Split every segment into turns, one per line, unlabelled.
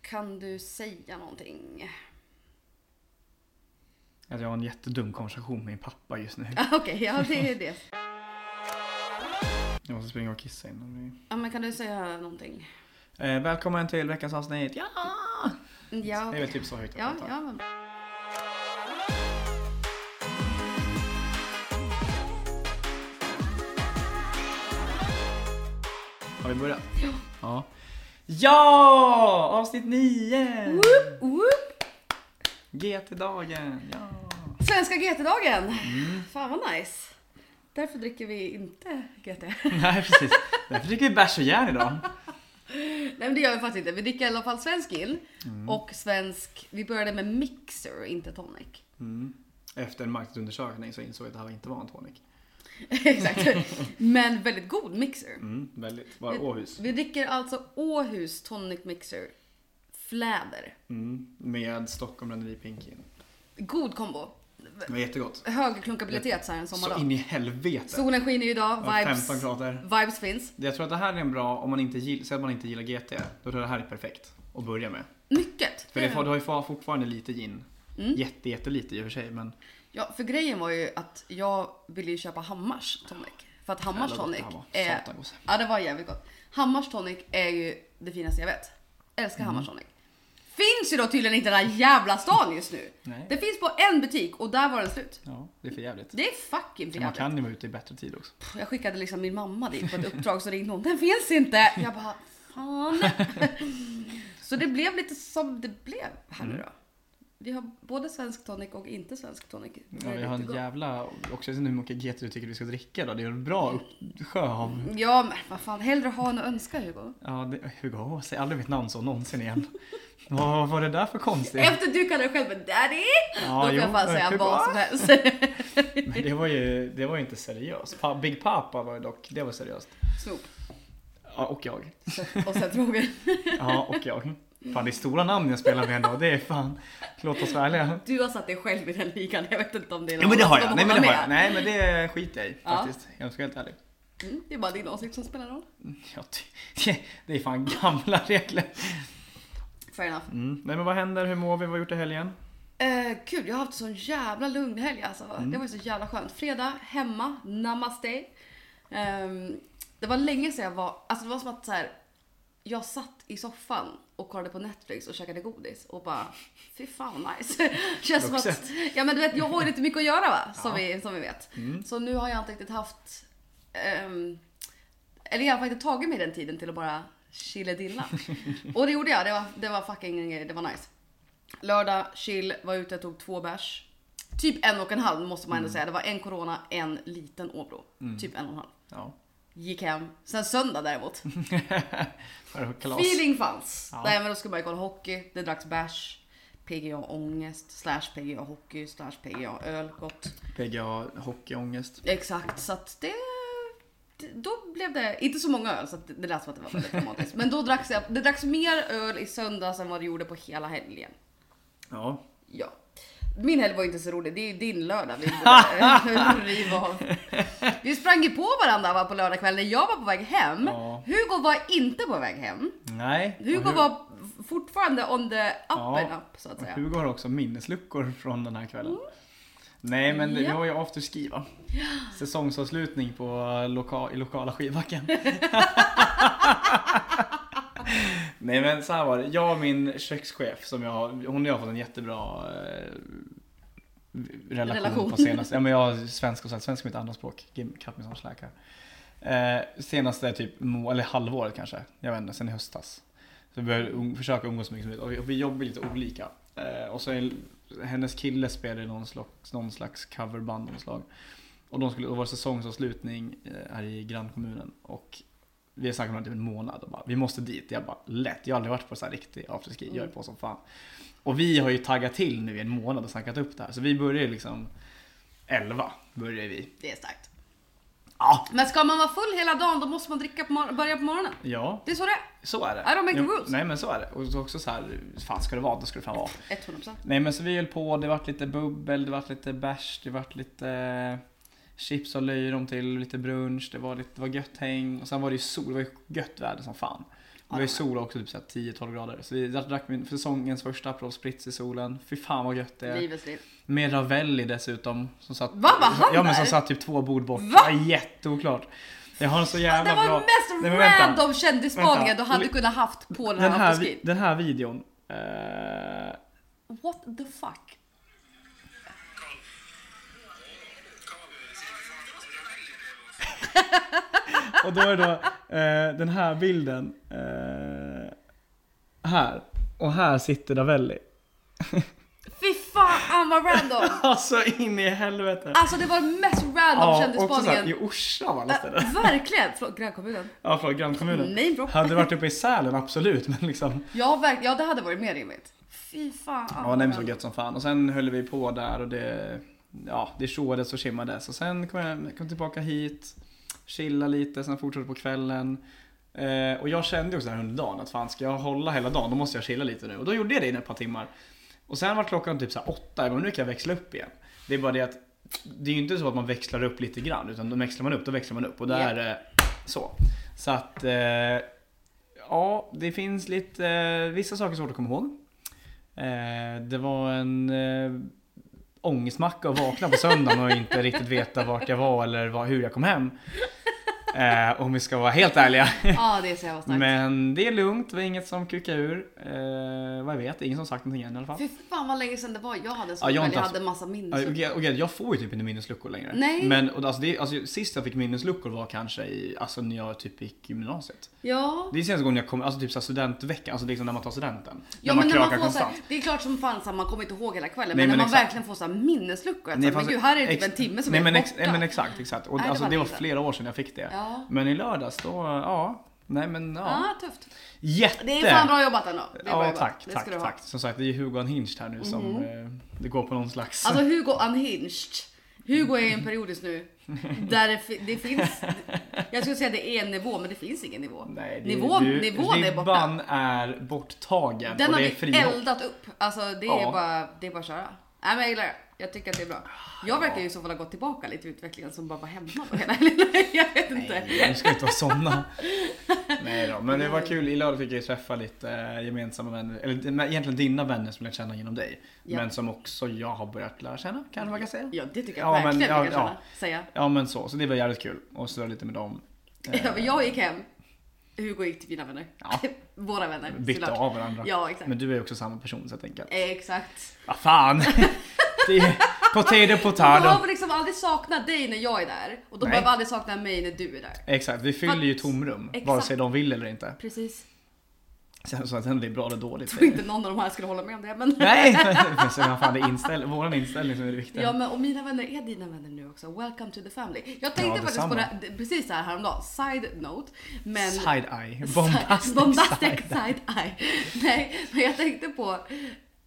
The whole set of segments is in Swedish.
Kan du säga någonting?
Att jag har en jättedum konversation med min pappa just nu.
Ah, Okej, ja det är det.
Jag måste springa och kissa innan vi...
Ja men kan du säga någonting?
Eh, välkommen till veckans avsnitt! Ja!
Ja,
Det är väl typ så högt jag
ja,
pratar.
ja men...
Har vi börjat? Ja! Ja! ja! Avsnitt 9!
Woop, woop.
GT-dagen! Ja!
Svenska GT-dagen!
Mm.
Fan vad nice! Därför dricker vi inte GT.
Nej precis, därför dricker vi bärs och järn idag.
Nej men det gör vi faktiskt inte. Vi dricker i alla fall svensk gin.
Mm.
Och svensk... Vi började med mixer och inte tonic.
Mm. Efter en marknadsundersökning så insåg jag att det här inte var en tonic.
Exakt. Men väldigt god mixer.
Mm, väldigt. Var Åhus.
Vi dricker alltså Åhus tonic mixer. Fläder.
Mm. Med Stockholm Rederi Pinkin.
God kombo.
Det var jättegott.
Hög klunkabilitet så här en
Så
sommardag.
in i helvete!
Solen skiner ju idag,
Det var
vibes,
15 grader.
vibes finns.
Jag tror att det här är en bra, om man inte gillar, säg att man inte gillar GT, då tror jag det här är perfekt att börja med.
Mycket!
För det, får- du har ju far- fortfarande lite gin.
Mm.
Jätte, jättelite i och för sig men...
Ja, för grejen var ju att jag ville ju köpa Hammars tonic. För att Hammars
Jävlar,
tonic Eh,
det här var
är...
satan gott.
Ja, det var jävligt gott. Hammars tonic är ju det finaste jag vet. Älskar
Mm.
Hammars tonic. Finns ju då tydligen inte i den här jävla stan just nu.
Nej.
Det finns på en butik och där var den slut.
Ja, det är för jävligt.
Det är fucking för
Man
jävligt.
kan ju vara ute i bättre tid också.
Pff, Jag skickade liksom min mamma dit på ett uppdrag så ringde hon. Den finns inte! Jag bara, fan. Så det blev lite som det blev här
Mm.
nu då. Vi har både svensk tonic och inte svensk tonic. Det
Ja,
är
vi har en
jättegott.
jävla, också jag vet inte hur mycket GT du tycker vi ska dricka då. Det är en bra upp- sjö av...
Ja men vad fan, hellre ha än att önska Hugo.
Ja, det, Hugo, säg aldrig mitt namn så någonsin igen. Vad var det där för konstigt?
Efter du kallar dig själv för daddy, då
Ja,
kan jag fan säga
Hugo.
vad som helst.
Men det var ju, det var ju inte seriöst. Pa- Big Papa var ju dock, det var seriöst.
Snoop.
Ja, och jag.
Och sen Roger.
Ja, och jag. Fan det är stora namn jag spelar med ändå. Det är fan, låt oss vara ärliga.
Du har satt dig själv i den ligan, jag vet inte om det är
Jo men det har
som
jag. Nej men
håller
det har jag.
med.
Nej men det skiter jag i faktiskt. Jag ska vara helt ärlig.
Mm, det är bara din åsikt som spelar roll.
Ja, det- det är fan gamla regler.
Fair enough.
Mm. Nej men vad händer? Hur mår vi? Vad har vi gjort i helgen?
Eh, kul, jag har haft en sån jävla lugn helg alltså. Det var ju så jävla skönt. Fredag, hemma, namaste. Ehm, det var länge sedan jag var, alltså det var som att så här, jag satt i soffan och kollade på Netflix och käkade godis och bara, fy fan vad nice. Känns som att,
Vuxet.
ja men du vet jag har ju lite mycket att göra va, som,
Ja.
vi, som vi vet.
Mm.
Så nu har jag inte riktigt haft, ehm, eller i alla fall inte tagit mig den tiden till att bara chilledilla. och det gjorde jag, det var, det var fucking, det var nice. Lördag, chill, var ute, tog två bärs. Typ en och en halv måste
Mm.
man ändå säga. Det var en corona, en liten Åbro. Typ en och en halv.
Ja.
Gick hem. Sen söndag däremot.
Var det kalas?
Feeling fanns.
Ja.
Nej men då skulle man ju kolla hockey. Det dracks bärs. PGA ångest, slash PGA hockey, slash PGA öl. Gott.
PGA, hockeyångest.
Exakt, så att det... det- Då blev det inte så många öl så att det- det lät som att det var väldigt dramatiskt. Men då dracks jag, det dracks mer öl i söndags än vad det gjorde på hela helgen.
Ja.
Ja. Min helg var ju inte så rolig, det är ju din lördag vi borde riva av. Vi sprang ju på varandra va, på lördagskvällen när jag var på väg hem.
Ja.
Hugo var inte på väg hem.
Nej. och
Hugo
Hu-
var fortfarande on the up
Ja.
and up så att
och
säga.
Hugo har också minnesluckor från den här kvällen. Nej men det, vi
Ja.
har ju afterski va? Säsongsavslutning på loka, i lokala skidbacken. Nej men så här var det. Jag och min kökschef, som jag, hon och jag har fått en jättebra eh, relation,
Relation.
på senaste. Ja, men jag är svensk och så här, svenska är mitt andra språk. Give me- Cut me some slack här. Eh, senaste typ, må- eller halvåret kanske. Jag vet inte, sen i höstas. Så vi började um- försöka umgås så mycket som möjligt. Och vi, och vi jobbar lite olika. Eh, och så är, hennes kille spelade i någon slags, någon slags coverband av något slag. Och de skulle, det var säsongsavslutning eh, här i grannkommunen. Och vi har snackat om det i typ en månad och bara, vi måste dit. Jag bara, lätt. Jag har aldrig varit på så här riktig afterski. Jag är
Mm.
på som fan. Och vi har ju taggat till nu i en månad och snackat upp det här. Så vi börjar liksom 11 börjar vi.
Det är starkt.
Ja.
Men ska man vara full hela dagen då måste man dricka på mor- börja på morgonen.
Ja,
Det är så det är.
så är det.
I don't make the rules.
Nej men så är det. Och så också så här, fan ska det vara, då ska det fan vara.
100%.
Nej men så vi höll på, det vart lite bubbel, det vart lite bärs, det vart lite eh, chips och löjrom till, lite brunch, det var, lite, det var gött häng. Och sen var det ju sol, det var ju gött väder som fan. Det var ju sol också, typ så här 10-12 grader. Så vi drack min för säsongens första Aperol Spritz i solen. Fy fan vad gött det är.
Livets liv.
Med Ravelli dessutom. Som satt,
Va, var han
Ja men
där?
som satt typ två bord bort.
Va?
Det var jätteoklart. Jag har en så jävla
Det var
bra...
mest
Nej, men vänta.
random kändisspaningen du
Vänta.
hade kunnat haft på den,
Den
här
här, vi-
afterskin.
den här videon. eh,
What the fuck?
och då är då eh, den här bilden. Eh, här. Och här sitter Ravelli.
Fy fan vad random!
Alltså in i helvete.
Alltså det var den mest random
också såhär, i
kändisspaningen.
Orsa av alla ställen.
Äh, verkligen! Förlåt, grannkommunen.
Ja, från grannkommunen.
Name drop.
Hade det varit uppe i Sälen, absolut. Men liksom.
Ja, verk- ja, det hade varit mer rimligt. Fy fan.
Ja, nej men så gött som fan. Och sen höll vi på där och det, ja, det tjoades och skimmades. Och sen kom jag kom tillbaka hit, chilla lite, sen fortsatte på kvällen. Eh, och jag kände också där under dagen att fan ska jag hålla hela dagen då måste jag chilla lite nu. Och då gjorde jag det i ett par timmar. Och sen var klockan typ så här åtta, jag bara, nu kan jag växla upp igen. Det är bara det att det är ju inte så att man växlar upp lite grann utan då växlar man upp, då växlar man upp. Och där, eh, så. Så att, eh, ja det finns lite, eh, vissa saker är svårt att komma ihåg. Eh, det var en eh, ångestmacka att vakna på söndagen och inte riktigt veta vart jag var eller vad, hur jag kom hem. Eh, om vi ska vara helt ärliga.
Ja, det är så jävla starkt.
Men det är lugnt, det var inget som kukade ur. Eh, vad jag vet, ingen som sagt någonting än i alla fall.
Fy fan vad länge sedan det var jag hade en sån
Ja, jag
kväll.
har inte
Jag
haft-
hade en massa minnes.
Ja, okej, okej, jag får ju typ inte minnesluckor längre.
Nej.
Men och alltså, det, alltså, sist jag fick minnesluckor var kanske i, alltså, när jag typ gick gymnasiet.
Ja.
Det är senaste gången jag kom, alltså typ så här studentveckan, alltså liksom när man tar studenten.
Ja,
när
men
man
när man
krakar
får så här,
konstant.
det är klart som fan så här, man kommer inte ihåg hela kvällen.
Nej,
men när
men
man
exakt.
verkligen får så här minnesluckor. Att,
Nej,
så här, men
fast-
gud, här är typ
ex-
en timme som
nej,
är
men
borta.
ex, nej men exakt, exakt. Och,
Nej, det
alltså,
var
det var
länge sedan.
flera år sedan jag fick det.
Ja.
Men i lördags då, ja. Nej men ja.
Ja, tufft.
Jätte!
Det är fan bra jobbat ändå. Det är bra
Ja
jobbat.
tack,
det ska
tack,
du ha. Mhm.
tack. Som sagt det är Hugo Unhinged här nu som eh, det går på någon slags...
Alltså Hugo Unhinged. Hugo är i en period just nu där det, fi- det finns, jag skulle säga det är en nivå men det finns ingen nivå.
nej, det,
nivån
du,
nivån är borta.
Ribban är borttagen
Den
och
har
det är
vi
frihopp.
eldat upp. Alltså det är,
Ja.
bara, det är bara att köra. Nej men jag gillar det. Jag tycker att det är bra. Jag verkar ju i så fall ha gått tillbaka lite i utvecklingen som bara var hemma då hela Jag vet inte.
Nej, nu ska jag inte vara såna. Nej då, men det var kul. I lördag fick jag ju träffa lite eh, gemensamma vänner, eller men egentligen dina vänner som jag lärt känna genom dig.
Ja.
Men som också jag har börjat lära känna, kanske man kan säga.
Ja det tycker
Ja,
jag
men-
verkligen
ja,
jag kan
ja.
känna. Säga.
Ja men så, så det var jävligt kul. Och så var det lite med dem. Eh,
Jag gick hem. Hugo gick till mina vänner.
Ja.
Våra vänner
bytte
såklart.
av varandra.
Ja exakt.
Men du är ju också samma person så jag tänker att,
Exakt.
vad fan. det är potato
Jag
potato.
behöver liksom aldrig sakna dig när jag är där och de
Nej.
behöver aldrig sakna mig när du är där.
Exakt, vi fyller ju tomrum. Vare
Exakt.
sig de vill eller inte.
Precis.
Sen, så, sen det är bra eller dåligt.
Jag tror inte någon av de här skulle hålla med om det. Men...
Nej! Men sen, fan, det är inställ- våran inställning som är det viktiga.
Ja men och mina vänner är dina vänner nu också. Welcome to the family. Jag tänkte
Ja,
faktiskt på
detsamma.
det här- det- precis så här häromdagen. Side note. Men...
Side-eye. Bombastic,
Bombastic
side-eye.
side eye. Nej men jag tänkte på.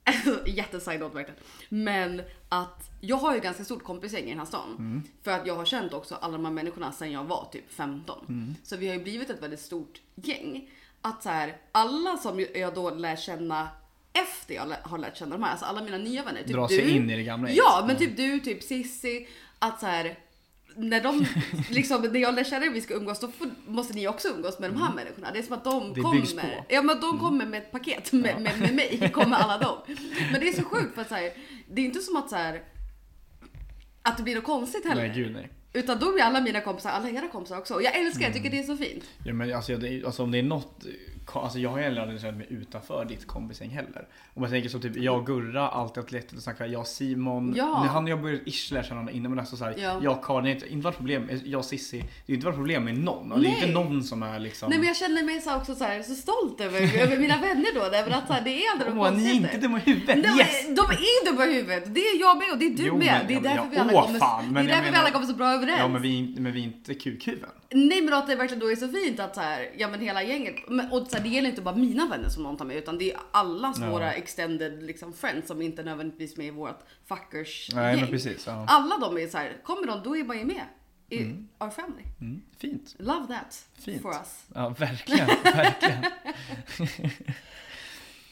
Alltså, Jätteside note verkligen. Men att jag har ju ganska stort kompisgäng i den här stan.
Mm.
För att jag har känt också alla de här människorna sedan jag var typ 15.
Mm.
Så vi har ju blivit ett väldigt stort gäng. Att så här, alla som ju- jag då lär känna efter jag lä- har lärt känna de här, alltså alla mina nya vänner. Typ
Dra
du,
sig in i det gamla gänget. Mm.
Ja, men typ du, typ Sissi. Att så här, när de, liksom, när jag lär känna er vi ska umgås, då får, måste ni också umgås med de här människorna. Det är som att de
Mm. Det byggs
kommer.
på. Mm.
Ja men de kommer med ett paket med,
Ja.
med, med mig, kommer alla dem. Men det är så sjukt för att så här, det är inte som att så här, att det blir något konstigt heller.
Nej, gud nej.
Utan då blir alla mina kompisar, alla era kompisar också. Och jag älskar det, jag tycker det är
Mm.
så fint.
Ja, men alltså, jag- det, är- alltså om det är något, alltså jag har heller aldrig känt mig utanför ditt kompisgäng heller. Om jag tänker så typ jag och Gurra, alltid haft lätt att snacka, jag och Simon,
Ja.
när han och jag började ish lära känna varandra innan men alltså såhär,
Ja.
jag och Karin, det har inte- inte varit problem, jag och Sissi, det har ju inte varit problem med någon. Och det är
Nej.
inte någon som är liksom,
Nej men jag känner mig så här också så, här, så stolt över, över mina vänner då. Därför att så här, det är aldrig något
åh ni är
konstigt.
inte dumma i huvudet,
De,
yes!
de är dumma i huvudet. Det är jag med och det är du
Jo,
med.
men-
det är
ja, men-
därför,
ja,
vi, alla
åh,
kommer,
fan,
det är
men jag
därför vi
menar-
alla kommer så bra överens.
Ja men vi, men vi är inte kukhuvuden.
Nej men att det verkligen då är så fint att så här, ja men hela gänget, men, och så här, det gäller inte bara mina vänner som någon tar med utan det är allas
Ja.
våra extended liksom friends som inte nödvändigtvis är med i vårt fuckers
Nej
gäng.
men precis. Ja.
Alla de är så här, kommer de då är man ju med i our family.
Mm, fint.
Love that
Fint.
for us.
Ja verkligen, verkligen.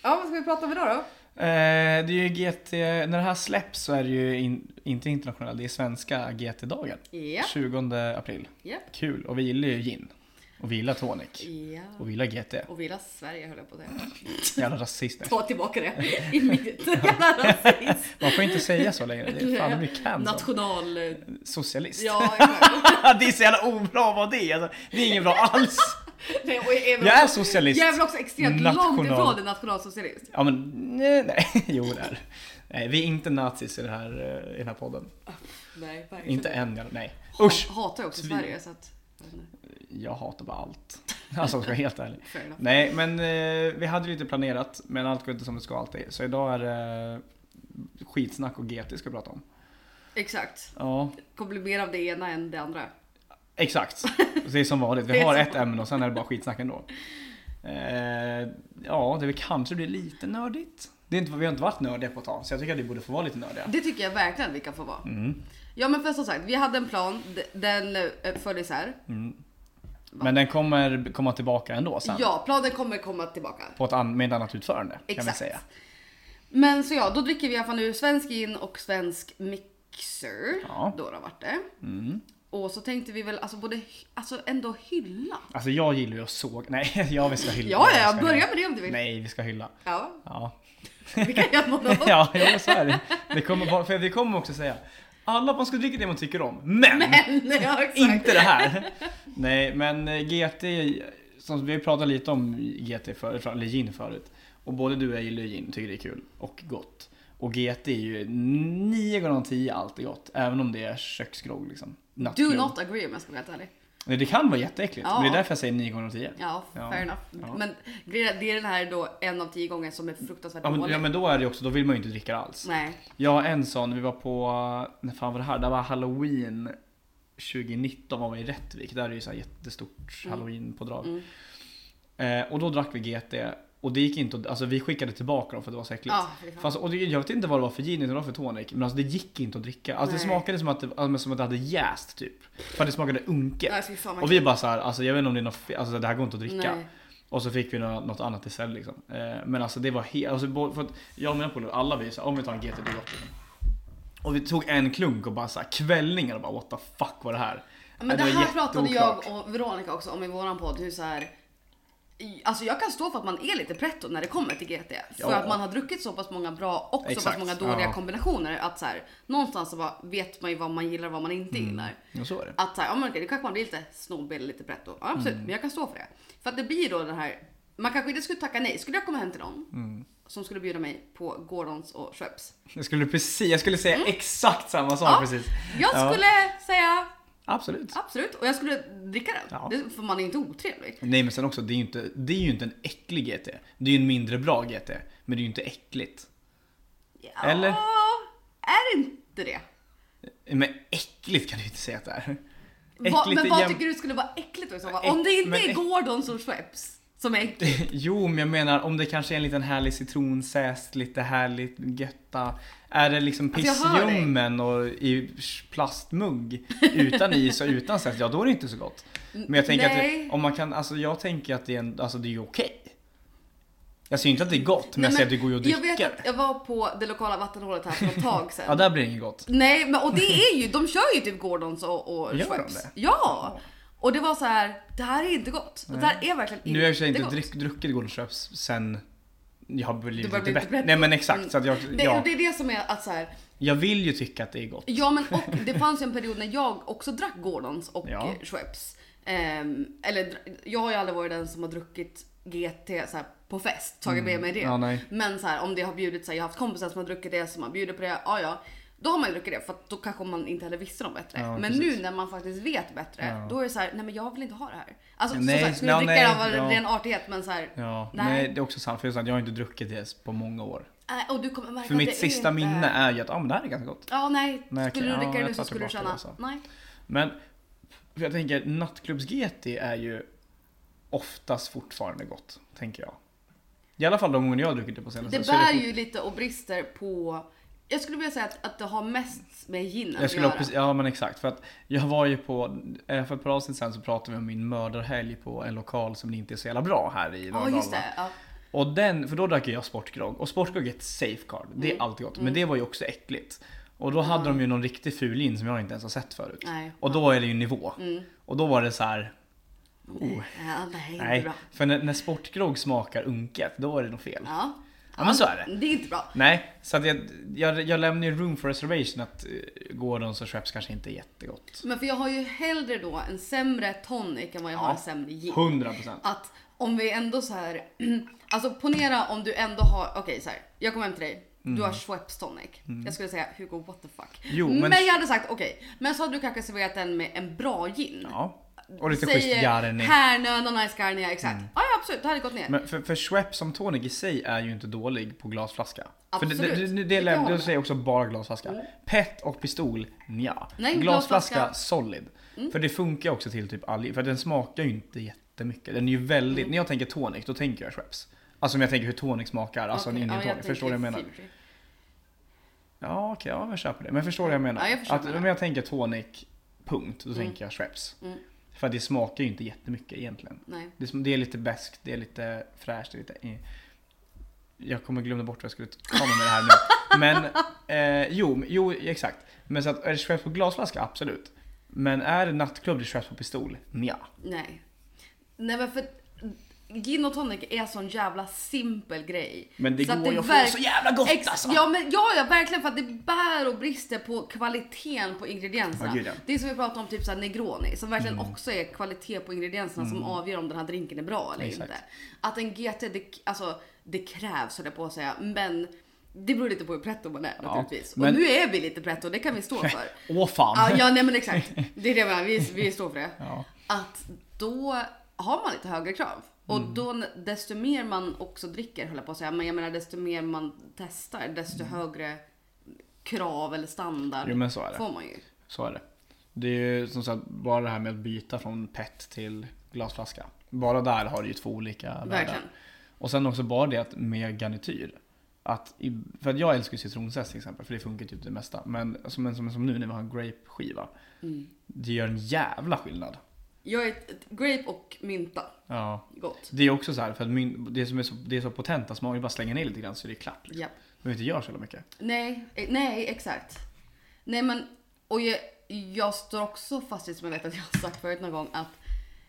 Ja vad ska vi prata om idag då?
Eh, det är ju GT, när det här släpps så är det ju in, inte internationella, det är svenska GT-dagen.
Ja,
20 april.
ja.
Kul, och vi gillar ju gin. Och Och vi gillar tonic.
Ja.
Och vi gillar GT.
Och vi gillar Sverige höll jag på att säga.
Jävla rasister.
Ta tillbaka det. I mitt jävla rasism.
Man får inte säga så längre. Det är fan de blir cancelled.
National...
Socialist.
Ja, exakt.
det är så jävla obra vad det är. Alltså, det är inget bra alls.
Nej, och jag är väl
Jag är
också-
socialist.
Jag är väl också extremt långt
National.
ifrån en nationalsocialist.
Ja men nej, nej. jo det är det. nej, Vi är inte nazis i, det här, eh, i den här podden.
Nej, verkligen.
Inte än i alla- nej. Usch!
Hatar jag också
Svin.
Sverige så att...
Jag hatar bara allt. Alltså om jag ska vara helt ärlig.
Fair enough.
Nej men eh, vi hade lite planerat men allt går inte som det ska alltid. Så idag är det eh, skitsnack och GT ska vi prata om.
Exakt.
Ja,
Kommer bli mer av det ena än det andra.
exakt. Det är som vanligt.
Det
Vi
är
har
som
ett ämne och sen är det bara skitsnack ändå. Eh, ja, det vi kanske blir lite nördigt. Det är inte, vi har inte varit nördiga på ett tag så jag tycker att vi borde få vara lite nördiga.
Det tycker jag verkligen vi kan få vara.
Mm.
Ja men för som sagt, vi hade en plan. D- Den eh, föll isär.
Mm. Men den kommer komma tillbaka ändå sen.
Ja, planen kommer komma tillbaka.
På ett an- med ett annat utförande kan vi
Exakt.
säga.
Men så ja, då dricker vi i alla fall nu svensk gin och svensk mixer.
Ja.
Då har varit det.
Mm.
Och så tänkte vi väl alltså, både, alltså ändå hylla.
Alltså jag gillar ju att såga. Nej, ja vi ska hylla.
Ja, ja,
Vi ska
ja, börja
hylla.
med det om du vill.
Nej, vi ska hylla.
Ja,
Ja,
vi kan göra båda.
ja jo, så är det. det kommer, vara- för vi kommer också säga alla man ska dricka det man tycker om. Men!
Men, ja, exakt.
Inte det här! Nej, men eh, GT, som vi pratade lite om GT förut, eller gin förut. Och både du och jag gillar ju gin, tycker det är kul och gott. Och GT är ju 9 gånger av 10 alltid gott, även om det är köksgrogg liksom.
Do
Nattklubb.
not agree om jag ska vara helt ärlig.
Nej, det kan vara jätteäckligt.
Ja.
Det är därför jag säger 9 gånger av 10.
Ja,
Ja.
fair enough.
Ja.
Men grejen är- det är den här då en av tio gånger som är fruktansvärt
Ja men,
dålig.
ja men då är det ju också, då vill man ju inte dricka det alls.
Nej.
Jag har en sån, vi var på, eh, när fan var det här? Det var halloween 2019 var vi i Rättvik. Där är det ju så här jättestort
Mm.
halloween-pådrag.
Mm.
Eh, och då drack vi GT och det gick inte att, alltså vi skickade tillbaka dem för att det var så äckligt.
Ja, fy fan.
Fast, och det, jag vet inte vad det var för gin utan det var för tonic. Men alltså det gick inte att dricka. Alltså det
Nej.
smakade som att det, alltså, som att det hade jäst typ. För att det smakade unket.
Nej, fy fan vad
Och vi bara såhär, alltså jag vet inte om det är något fe- alltså det här går inte att
äckligt.
dricka.
Nej.
Och så fick vi nå- något annat istället liksom. Eh, Men alltså det var helt, alltså, bo- för att jag och mina polare, alla vi såhär, om vi tar en GT det är gott liksom. Och vi tog en klunk och bara såhär kvällningar och bara what the fuck var det här?
Men
Eh,
det,
var
här pratade
jätteoklart.
jag och Veronica också om i våran podd. Hur så här, i- alltså jag kan stå för att man är lite pretto när det kommer till GT. För
Ja.
att man har druckit så pass många bra och så pass
Exakt,
många dåliga
ja.
kombinationer. Att så här, någonstans så bara vet man ju vad man gillar och vad man inte
Mm.
gillar.
Ja så är det.
Att så här, ja, men okej, det kanske man blir lite snobbig eller lite pretto. Ja, absolut,
Mm.
men jag kan stå för det. För att det blir då den här, man kanske inte skulle tacka nej. Skulle jag komma hem till någon
Mm.
som skulle bjuda mig på Gordons och Schweppes.
Jag skulle precis, jag skulle säga exakt samma sak
Mm. Ja,
precis.
Jag
Ja.
skulle säga
Absolut.
absolut och jag skulle dricka den.
Ja.
Det, för man är inte otrevlig.
Nej men sen också, det är, ju inte, det är ju inte en äcklig GT. Det är ju en mindre bra GT. Men det är ju inte äckligt.
Ja,
Eller?
Är det inte det?
Men äckligt kan du ju inte säga att det är.
Va,
Äckligt
men
är
vad
jäm-
tycker du skulle vara äckligt då i så fall?
Äck-
Om det inte
men
är
äck-
Gordons och Schweppes som är äckligt.
Jo, men jag menar om det kanske är en liten härlig citronsäst, lite härligt götta. Är det liksom
Alltså, jag hör dig.
pissljummen och i plastmugg utan is och utan säst, ja då är det inte så gott. Men jag tänker
nej.
att om man kan, alltså jag tänker att det är, en, alltså det är ju okej. Jag säger inte att det är gott, men
Nej,
jag säger att det går ju att dricka.
Jag vet att jag var på det lokala vattenhålet här för ett tag sedan.
Ja, där blir det inget gott.
Nej, men och det är ju, de kör ju typ Gordons och, och
Gör de
Schweppes.
det?
Ja! Och det var så här, det här är inte gott. Det här är verkligen
Nu har jag i och för sig
inte
inte
gott.
drick, druckit Golden Straps sen jag har blivit
börjar
lite
bli lite
bättre.
bättre. Mm.
Nej men exakt, så att jag,
Det, och
ja,
det är det som är att så här,
jag vill ju tycka att det är gott.
Ja men och det fanns ju en period när jag också drack Gordons och
Ja.
eh, Schweppes. Ehm, eller dr- jag har ju aldrig varit den som har druckit GT så här, på fest, tagit med mig det.
Mm. Ja, nej.
men så här, om det har bjudit sig, jag har haft kompisar som har druckit det som har bjudit på det, ja ja. Då har man ju druckit det för att då kanske man inte heller visste något bättre.
Ja,
men
precis.
nu när man faktiskt vet bättre,
Ja.
då är det så här, nej men jag vill inte ha det här. Alltså
Nej,
som sagt, skulle jag
ja,
dricka
nej,
det av
ja.
ren artighet men så här,
Ja,
Nej.
nej. det är också sant. För jag har inte druckit det på många år.
nej, äh, och du kommer märka
För
att
mitt
det
sista
är inte...
minne är ju att ah, men det här är ganska gott.
Ja nej,
Nej, okej.
skulle du
Ja,
dricka det
jag
nu så
tar
skulle du
tillbaka
känna,
det alltså.
nej.
Men för jag tänker nattklubs-GT är ju oftast fortfarande gott, tänker jag. I alla fall de gånger jag har druckit det på senaste.
Det
så är
bär
fort-
ju lite och brister på... Jag skulle vilja säga att, att det har mest med gin
Jag
att
skulle
göra.
ha precis, ja men exakt. För att jag var ju på, eh, för ett par avsnitt sen så pratade vi om min mördarhelg på en lokal som inte är så jävla bra här i
Ja
Mölndal,
just
va?
det. Ja.
Och den, för då drack ju jag sportgrogg. Och sportgrogg är ett safe card. Det är
Mm.
alltid gott. Men det var ju också äckligt. Och då hade de ju någon riktig fulin som jag inte ens har sett förut.
Nej. Mm.
Och då är det ju nivå. Och då var det så här. Oh.
Ja, nej, inte
Nej,
bra.
för när, när sportgrogg smakar unket, då är det nog fel. Ja,
Ja,
men så är det.
det är inte bra.
Nej, så att jag, jag, jag lämnar ju room for reservation att eh, Gordons och Schweppes kanske inte är jättegott.
Men för jag har ju hellre då en sämre tonic än vad jag har
Ja.
en sämre gin.
100%.
Att om vi ändå så här, alltså ponera om du ändå har, okej så här, jag kommer hem till dig, du har Schweppes tonic. Jag skulle säga Hugo what the fuck.
Mm. Jo,
men...
men-
jag hade sagt okej, men så hade du kanske serverat den med en bra gin.
Ja. Och lite
Säg,
schysst
eh,
Jarni.
Härnöna, nice garnia, exakt. Ja, ja absolut, det hade gått ner.
Men för, för Schweppes som tonic i sig är ju inte dålig på glasflaska. För det,
Absolut.
det,
Det
det, det,
kan
det,
jag hålla
säger jag också bara glasflaska. Pet och pistol, nja.
Nej,
glasflaska,
glasflaska. Mm.
solid. För det funkar också till typ all För den smakar ju inte jättemycket. Den är ju väldigt,
Mm.
när jag tänker tonic då tänker jag Schweppes. Alltså om jag tänker hur tonic smakar, alltså en
Okej,
indian
ja,
tonic. Förstår du vad jag
tänker
menar?
Fuji.
Ja okej, ja, jag köper det. Men förstår du vad jag menar?
Ja, jag förstår
att,
vad du
om jag tänker tonic, punkt, då tänker jag Schweppes.
Mm.
För att det smakar ju inte jättemycket egentligen.
Nej.
Det är, som, det är lite beskt, det är lite fräscht, det är lite... eh. Jag kommer glömma bort vad jag skulle komma med det här nu. Men eh, jo, men- jo, exakt. Men så att, är det Schweppes på glasflaska? Absolut. Men är det nattklubb, det är Schweppes på pistol? Nja.
Nej. Nej men för gin och tonic är en sån jävla simpel grej.
Men det
Så att
går ju att
verk-
få så jävla gott
Ex-
alltså!
Ja, men, ja, ja, verkligen för att det bär och brister på kvaliteten på ingredienserna.
Ja, gud, ja. Mm.
Det är som vi pratade om, typ såhär negroni, som verkligen också är kvalitet på ingredienserna som avgör om den här drinken är bra eller
Exakt.
inte. Att en GT, det, alltså det krävs höll jag på att säga, men det beror lite på hur pretto man är
Ja,
naturligtvis.
men-
Och nu är vi lite pretto, det kan vi stå för.
Åh fan!
Ja, ja, nej men exakt. Det är det jag menar. Vi, vi står för det.
Ja.
Att då har man lite högre krav. Och
Mm.
då desto mer man också dricker, höll jag på att säga, men jag menar desto mer man testar, desto högre krav eller standard
Mm. Jo men så är det.
får man ju.
Så är det. Det är ju som sagt bara det här med att byta från PET till glasflaska. Bara där har du ju två olika världar.
Verkligen.
Och sen också bara det att med garnityr. Att i, för att jag älskar ju citronzest till exempel, för det funkar typ det mesta. Men som, som, som nu när vi har en grape-skiva.
Mm.
Det gör en jävla skillnad.
Jag är ett, ett grape och mynta.
Ja.
Gott.
Det är också så här, för att min, det som är så, det är så potent att man bara slänger ner lite grann så är det klart. Liksom.
Japp.
Men inte gör så jävla mycket.
Nej, eh, nej exakt. Nej men, och jag, jag står också fast vid som jag vet att jag har sagt förut någon gång att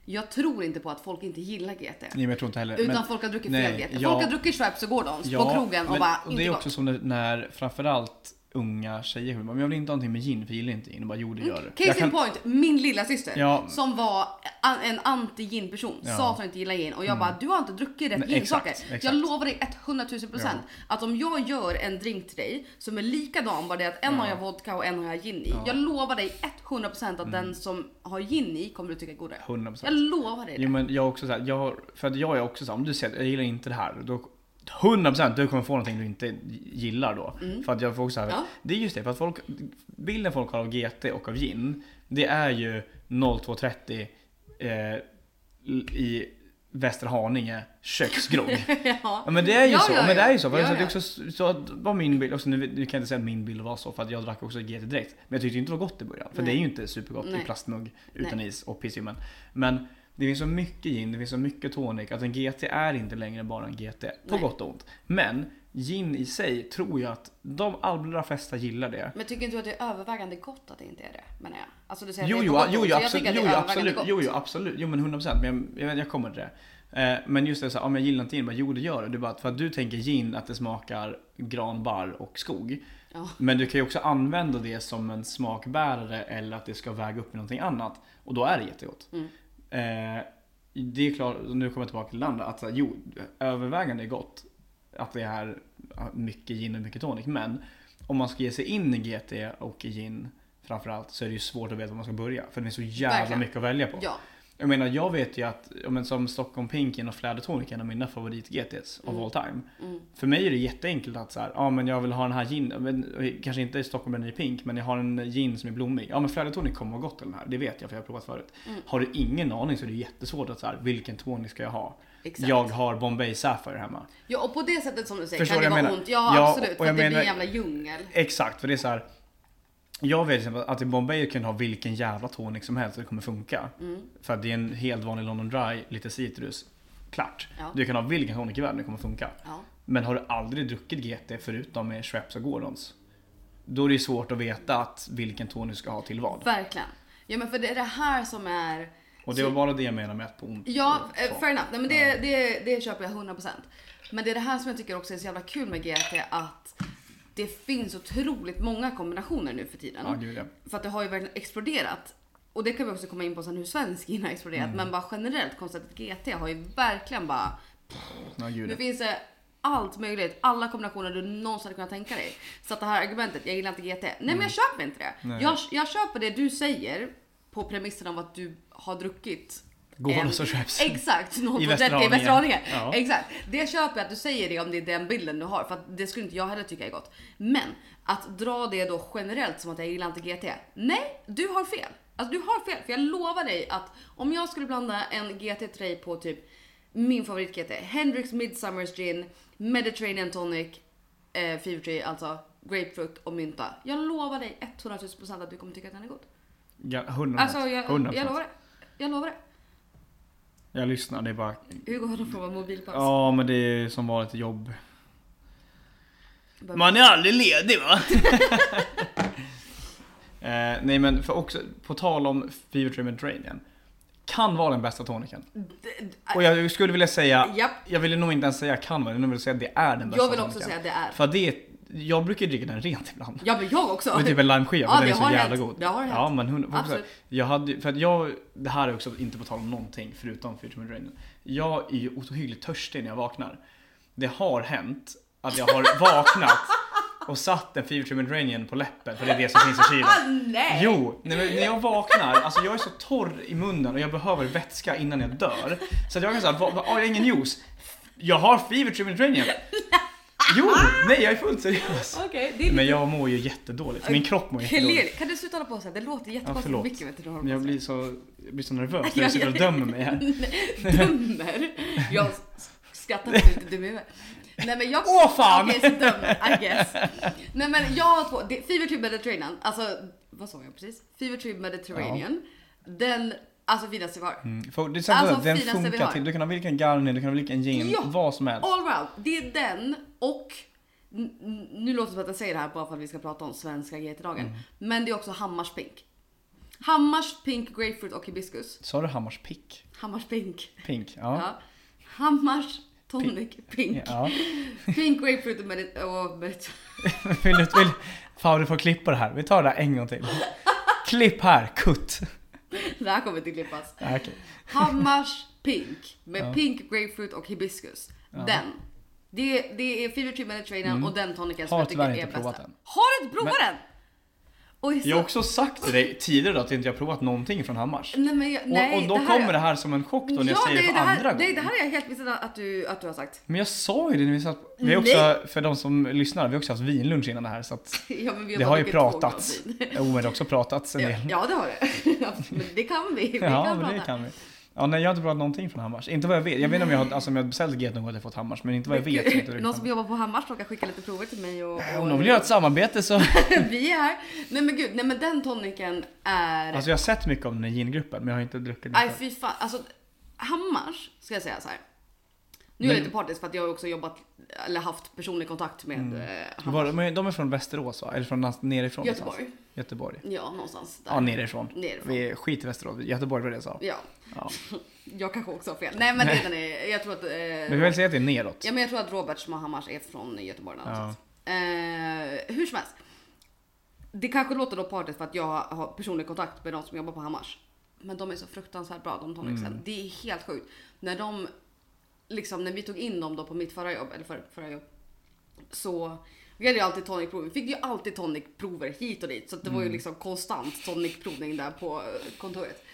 jag tror inte på att folk inte gillar GT.
Nej men jag tror inte heller.
Utan
men,
folk har druckit
nej,
fel GT. Folk
ja.
har druckit Schweppes och Gordons på krogen och
men-
bara,
och
inte
det är
gott.
också som när, när framförallt unga tjejer kommer men jag vill inte ha någonting med gin för jag gillar inte gin. Och bara, jo det gör du.
Case
Jag
in
kan-
point, min lilla syster
Ja.
som var an- en anti-gin person
Ja. Mm.
sa att hon inte gillar gin och jag bara du har inte druckit rätt
Nej,
ginsaker.
exakt, exakt.
Jag lovar dig 100 000 procent att om jag gör en drink till dig som är likadan bara det att en har jag vodka och en har jag gin i. Jag lovar dig 100 procent att
Mm.
den som har gin i kommer du tycka är godare.
100%.
Jag lovar dig det.
Jo men jag är också så här, jag, har- för att jag är också så här, om du säger att jag gillar inte det här, då 100% du kommer få någonting du inte gillar då. För att jag får också så här,
Mm. Ja.
det är just det, för att folk, bilden folk har av GT och av gin, det är ju 0230 eh, i Västerhaninge köksgrogg.
ja.
Ja men det är ju
Ja,
så,
ja,
men det
ja.
är ju så. För
Ja,
alltså, det är
ja.
också så- så att- var min bild, också, nu, nu kan jag inte säga att min bild var så för att jag drack också GT direkt. Men jag tyckte inte det var gott i början. För
Nej.
det är ju inte supergott
Nej.
i plastmugg utan is och piss i munnen. Men det finns så mycket gin, det finns så mycket tonic att en GT är inte längre bara en GT. På
Nej.
gott och ont. Men gin i sig tror jag att de allra flesta gillar det.
Men tycker inte du att det är övervägande gott att det inte är det? Menar jag. Alltså du säger
Jo,
att det är
jo,
på gott
jo,
och
jo,
ont, så jag tycker
absolut,
att det
jo,
är
jo,
övervägande
absolut,
gott.
jo, jo, absolut, jo, men 100 procent, men jag, jag, jag kommer till det. Eh, Men just det, så här, om jag gillar inte gin, bara, jo det gör det. det är bara att för att du tänker gin att det smakar gran, barr och skog.
Ja.
Men du kan ju också använda det som en smakbärare eller att det ska väga upp i någonting annat. Och då är det jättegott. Eh, det är klart, nu kommer jag tillbaka till det andra, att så här, jo, övervägande är gott. Att det är mycket gin och mycket tonic. Men om man ska ge sig in i GT och i gin framförallt så är det ju svårt att veta var man ska börja. För det finns så jävla
Verkligen.
mycket att välja på.
Mm. Ja.
Jag menar, jag vet ju att ja, men som Stockholm Pinken och Flädertonic är en av mina favorit-GTs of all time. För mig är det jätteenkelt att så här, ja men jag vill ha den här gin, men, eh, kanske inte i Stockholm den är pink, men jag har en gin som är blommig. Ja men Flädertonic kommer vara gott i den här, det vet jag för jag har provat förut. Har du ingen aning så är det jättesvårt att så här, vilken tonic ska jag ha?
Exakt.
Jag har Bombay Sapphire hemma.
Ja och på det sättet som du säger
Förstår
kan det
vad jag
vara
menar?
ont. Ja,
Ja,
absolut.
och
För
jag
att det blir
menar-
en jävla djungel.
Exakt, för det är så här. Jag vet till exempel att i Bombay kan du ha vilken jävla tonic som helst och det kommer funka.
Mm.
För att det är en helt vanlig London Dry, lite citrus. Klart.
Ja.
Du kan ha vilken tonic i världen, det kommer funka.
Ja.
Men har du aldrig druckit GT förutom med Schweppes och Gordons. Då är det ju svårt att veta att vilken tonic du ska ha till vad.
Verkligen. Ja men för det är det här som är
Och det var bara det jag menade med att på ont.
Ja,
och
eh,
så.
fair enough. Nej, men det, det, det köper jag 100%. Men det är det här som jag tycker också är så jävla kul med GT att det finns otroligt många kombinationer nu för tiden.
Ja, gud ja.
För att det har ju verkligen exploderat. Och det kan vi också komma in på sen hur svensk gin har exploderat.
Mm.
Men bara generellt konceptet GT har ju verkligen bara
Ja, gud
nu
ja.
finns det allt möjligt, alla kombinationer du någonsin hade kunnat tänka dig. Så att det här argumentet, jag gillar inte GT. Nej men jag köper inte det.
Mm. Nej.
Jag, jag köper det du säger på premissen av att du har druckit
Går
en-
och så köps.
Exakt, något
I
på
Västerhaninge.
30 i Västerhaninge.
Ja.
Exakt. Det köper jag att du säger det om det är den bilden du har för att det skulle inte jag heller tycka är gott. Men att dra det då generellt som att jag gillar inte GT. Nej, du har fel. Alltså du har fel för jag lovar dig att om jag skulle blanda en GT Tray på typ min favorit GT, Hendrix Midsummer's Gin, Mediterranean Tonic, eh, Fever Tree, alltså grapefruit och mynta. Jag lovar dig 100 000 procent att du kommer tycka att den är god.
Ja, 100
Alltså jag, jag lovar
lovar.
det. Jag lovar det.
Jag lyssnar, det är bara...
Hugo håller på med mobilpaus.
Ja, men det är som vanligt jobb.
Behöver-
Man är aldrig ledig va? eh, nej men för också, på tal om Fever Tree Mediterranean. Kan vara den bästa toniken.
D- d-
Och jag skulle vilja säga,
Japp.
jag ville nog inte ens säga kan vara, jag ville nog säga det är den bästa
Jag vill också
toniken.
säga att det är.
För att det är, jag brukar ju dricka den rent ibland.
Ja men jag också.
Med typ en limeskiva,
Ja, det
men den är så
har
jävla
hänt.
god.
Det har hänt.
Ja men hon,
Absolut.
jag hade ju- för att jag, det här är också inte på tal om någonting förutom Future Mediterranean. Jag är ju ohyggligt törstig när jag vaknar. Det har hänt att jag har vaknat och satt en Future Mediterranean på läppen för det är det som finns i kylen.
Ah, nej!
Jo, nej, men när jag vaknar, alltså jag är så torr i munnen och jag behöver vätska innan jag dör. Så att jag kan säga, "Va- va- har jag ingen juice? Jag har fever tree Mediterranean. Jo, nej jag är fullt seriös.
Okej, det är
Men jag mår ju jättedåligt, min kropp mår jättedåligt.
Clearly. Kan du sluta hålla på så här? Det låter
Ja,
jättekonstigt
förlåt.
mycket vet du
Men jag blir så, jag blir så nervös när jag sitter och dömer mig här.
Dömer? Jag s- skrattar för att du är dum i huvudet. Nej men jag...
Åh, fan!
Okej, så dömer, I guess. Nej men jag har två. Det, Fever Tree Mediterranean, alltså vad sa jag precis? Fever Tree Mediterranean. Den, alltså finaste vi har.
Mm, för det är så
Alltså,
att den
finaste vi
funkar
har.
till, du kan ha vilken Garni, du kan ha vilken gin,
Ja.
vad som helst.
All round. Det är den och n- n- nu låter det som att jag säger det här bara för att vi ska prata om svenska GT-dagen.
Mm.
Men det är också Hammars Pink. Hammars Pink Grapefruit och hibiskus.
Sa du Hammars pick?
Hammars Pink.
Pink?
Ja.
Ja.
Hammars Tonic Pink.
ja.
Pink Grapefruit och medit- och medit-
Vill du, vill, fan du får klippa det här, vi tar det här en gång till. Klipp här, kutt.
Det här kommer inte klippas.
Ja, okej.
Hammars Pink med
Ja.
Pink Grapefruit och hibiskus. Den. Det, det är Fever Tree Mediterranean och den toniken som
Mm. Har
jag tycker
tyvärr
är
inte
bästa.
provat den.
Har du inte provat den? Oj, så-
Jag har också sagt till dig tidigare då att inte jag provat någonting från Hammars.
Nej, men jag, nej,
och, och då
det här-
kommer det här som en chock då när jag
ja,
säger det
det,
för
det här,
andra
det,
gången.
det här är jag helt missad att du, att du har sagt.
Men jag sa ju det när vi satt... Vi har
Nej.
också, för de som lyssnar, vi har också haft vinlunch innan det här så att
Ja, men vi
det
bara
har ju
druckit två
pratats.
glas vin.
Jo men det har också pratats en del.
Ja, det har det. men det kan vi. Vi
Ja,
kan
men det
prata.
kan vi. Ja, nej jag har inte pratat någonting från Hammars. Inte vad jag vet. Jag vet inte om jag har, alltså, om jag har beställt GT någon gång att jag fått Hammars, men inte vad jag vet. så har jag inte
Någon
riktigt-
som jobbar på Hammars som kan skicka lite prover till mig och, och
Om de vill göra ett samarbete så Alltså,
vi är här. Nej men gud, nej men den toniken är...
Alltså jag har sett mycket om den här gingruppen men jag har inte druckit den
Aj
själv.
fy fan, alltså Hammars ska jag säga så här. Nu är jag
Men-
lite partisk för att jag har också jobbat, eller haft personlig kontakt med eh, Hammars.
Mm. Var, men de är från Västerås va? Eller från någonstans nerifrån? någonstans?
Göteborg.
Göteborg.
Ja, någonstans där.
Ja, nerifrån.
Nerifrån.
Vi skit i Västerås, Göteborg var det jag sa.
Ja,
Ja.
jag kanske också har fel. Nej men det den är, jag tror att... eh,
Men vi vill säga att det är neråt.
Ja men jag tror att Robert Smahammars är från Göteborg eller något sånt. eh, Hur som helst. Det kanske låter då partiskt för att jag har personlig kontakt med de som jobbar på Hammars. Men de är så fruktansvärt bra de tonicsen.
Mm.
Det är helt sjukt. När de, liksom när vi tog in dem då på mitt förra jobb, eller för, förra jobb. Så vi hade ju alltid tonicprover. Vi fick ju alltid tonicprover hit och dit. Så att det var
Mm.
ju liksom konstant tonicprovning där på eh, kontoret.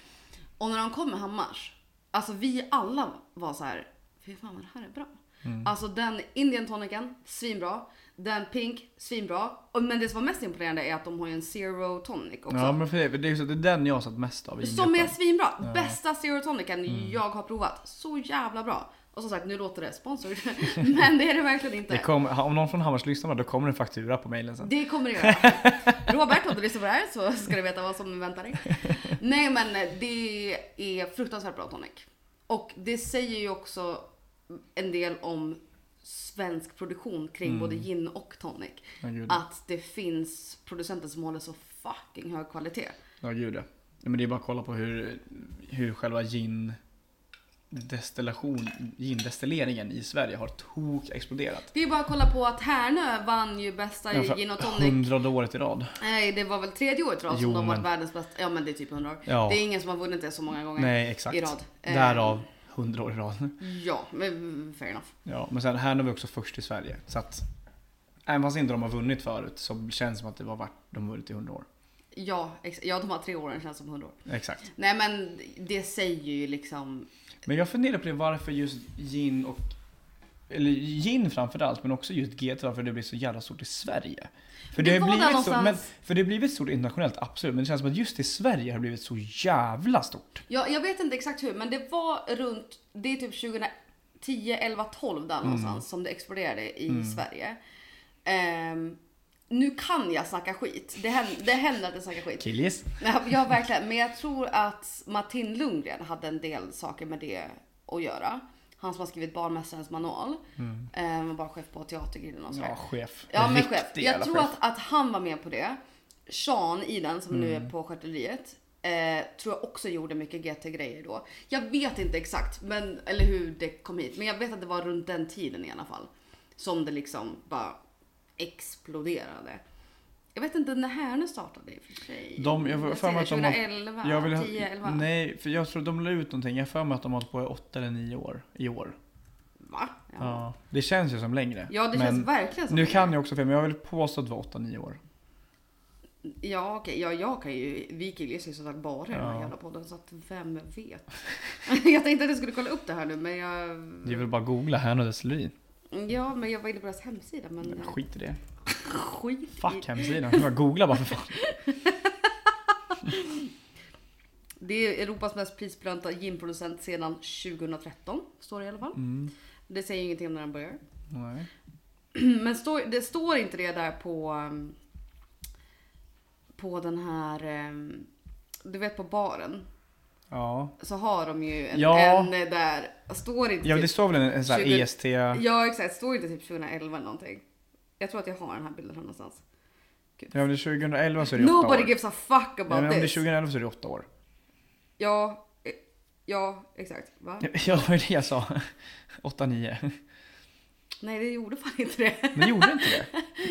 Och när de kom med Hammars, alltså vi alla var så här, fy fan vad det här är bra.
Mm.
Alltså den Indian tonicen, svinbra. Den pink, svinbra. Och, men det som var mest imponerande är att de har ju en zero tonic också.
Ja men för det, det är ju så att det är den jag har sett mest av i
Som är
gingruppen.
svinbra. Bästa serotonicen
Mm.
jag har provat. Så jävla bra. Och som sagt, nu låter det sponsor. Men det är det verkligen inte.
Det kom, om någon från Hammars lyssnar då kommer det en faktura på mejlen sen.
Det kommer det göra. Robert, om du lyssnar på det här så ska du veta vad som väntar dig. Nej men det är fruktansvärt bra tonic. Och det säger ju också en del om svensk produktion kring både gin och tonic.
Ja Mm. gud
Ah. Att det finns producenter som håller så fucking hög kvalitet.
ja. gud ja. Nej, Men det är bara att kolla på hur, hur själva gin destillation, gindestilleringen i Sverige har tok exploderat.
Det är bara att kolla på att Härnö vann ju bästa
Ja, för
gin och tonic.
Hundrade året i rad.
Nej, det var väl tredje året tror jag som
Jo,
de varit
men-
världens bästa. Ja, men det är typ 100 år.
Ja.
Det är ingen som har vunnit det så många gånger.
Nej, exakt.
i rad. Eh,
Därav hundra år i rad.
Ja, men fair enough.
Ja, men sen här är vi också först i Sverige. Så att även fast inte de har vunnit förut så känns det som att det var vart de vunnit i hundra år.
Ja, ex- ja, de här tre åren känns som 100 år.
Exakt.
Nej, men det säger ju liksom...
Men jag funderar på det varför just gin och eller gin framförallt, men också just GT, varför det blir så jävla stort i Sverige. För
Det
det, har
var där
blivit stort, men,
någonstans.
för det har blivit stort internationellt, absolut. Men det känns som att just i Sverige har det blivit så jävla stort.
Ja, jag vet inte exakt hur, men det var runt... Det är typ 2010, 11, 12
Mm.
där någonstans som det exploderade i Sverige. Ehm, nu kan jag snacka skit. Det händer, det händer att jag snackar skit.
Killis.
Nej, Ja, verkligen. Men jag tror att Martin Lundgren hade en del saker med det att göra. Han som har skrivit Barmästarens manual. Mm. Var bara chef på Teatergrillen och sådär.
Ja, chef.
Ja men
Riktig
chef. Jag
jävla
tror
chef.
att, att han var med på det. Sean Iden som nu
Mm.
är på Stjärteliet. Eh, tror jag också gjorde mycket GT-grejer då. Jag vet inte exakt men, eller hur det kom hit. Men jag vet att det var runt den tiden i alla fall. Som det liksom bara exploderade. Jag vet inte när Härnö startade i och för sig.
De, jag får för mig att de har-
2011,
Jag vill ha,
10, 11.
Nej, för jag tror de la ut någonting. Jag har för mig att de har hållit på i åtta eller nio år i år.
Va? Ja,
Ja. Det känns ju som längre.
ja det
men
känns verkligen som
Nu
det.
kan jag också fel, men jag vill påstå att det var åtta, nio år.
Ja okej, ja, jag kan ju, vi killar ju som sagt bara i den här
Ja.
jävla podden så att vem vet. jag tänkte att jag skulle kolla upp det här nu men jag,
Det är väl bara att googla här och destilleri.
ja men jag var inne på deras hemsida men,
Men Skit i det.
skit i,
Fuck hemsidan. Jag bara googla bara för fan.
Det är Europas mest prisbelönta ginproducent sedan 2013, står det i alla fall.
Mm.
Det säger ju ingenting om när den börjar.
Nej.
Men står- det står inte det där på um, på den här, um, du vet på baren.
Ja.
Så har de ju en,
Ja.
en eh, där, står inte
ja,
typ-
det står väl en, en sån här E
20
EST...
Ja exakt, står inte typ 2011 eller någonting? Jag tror att jag har den här bilden här någonstans.
Ja, om det är 2011 så är det åtta år.
Nobody gives a fuck
Ja, men om
about
det är
this.
2011 så är det åtta år.
Ja, eh, ja exakt. Va?
Ja, det var det jag sa. Åtta, nio.
Nej det gjorde fan inte det.
Men gjorde inte det?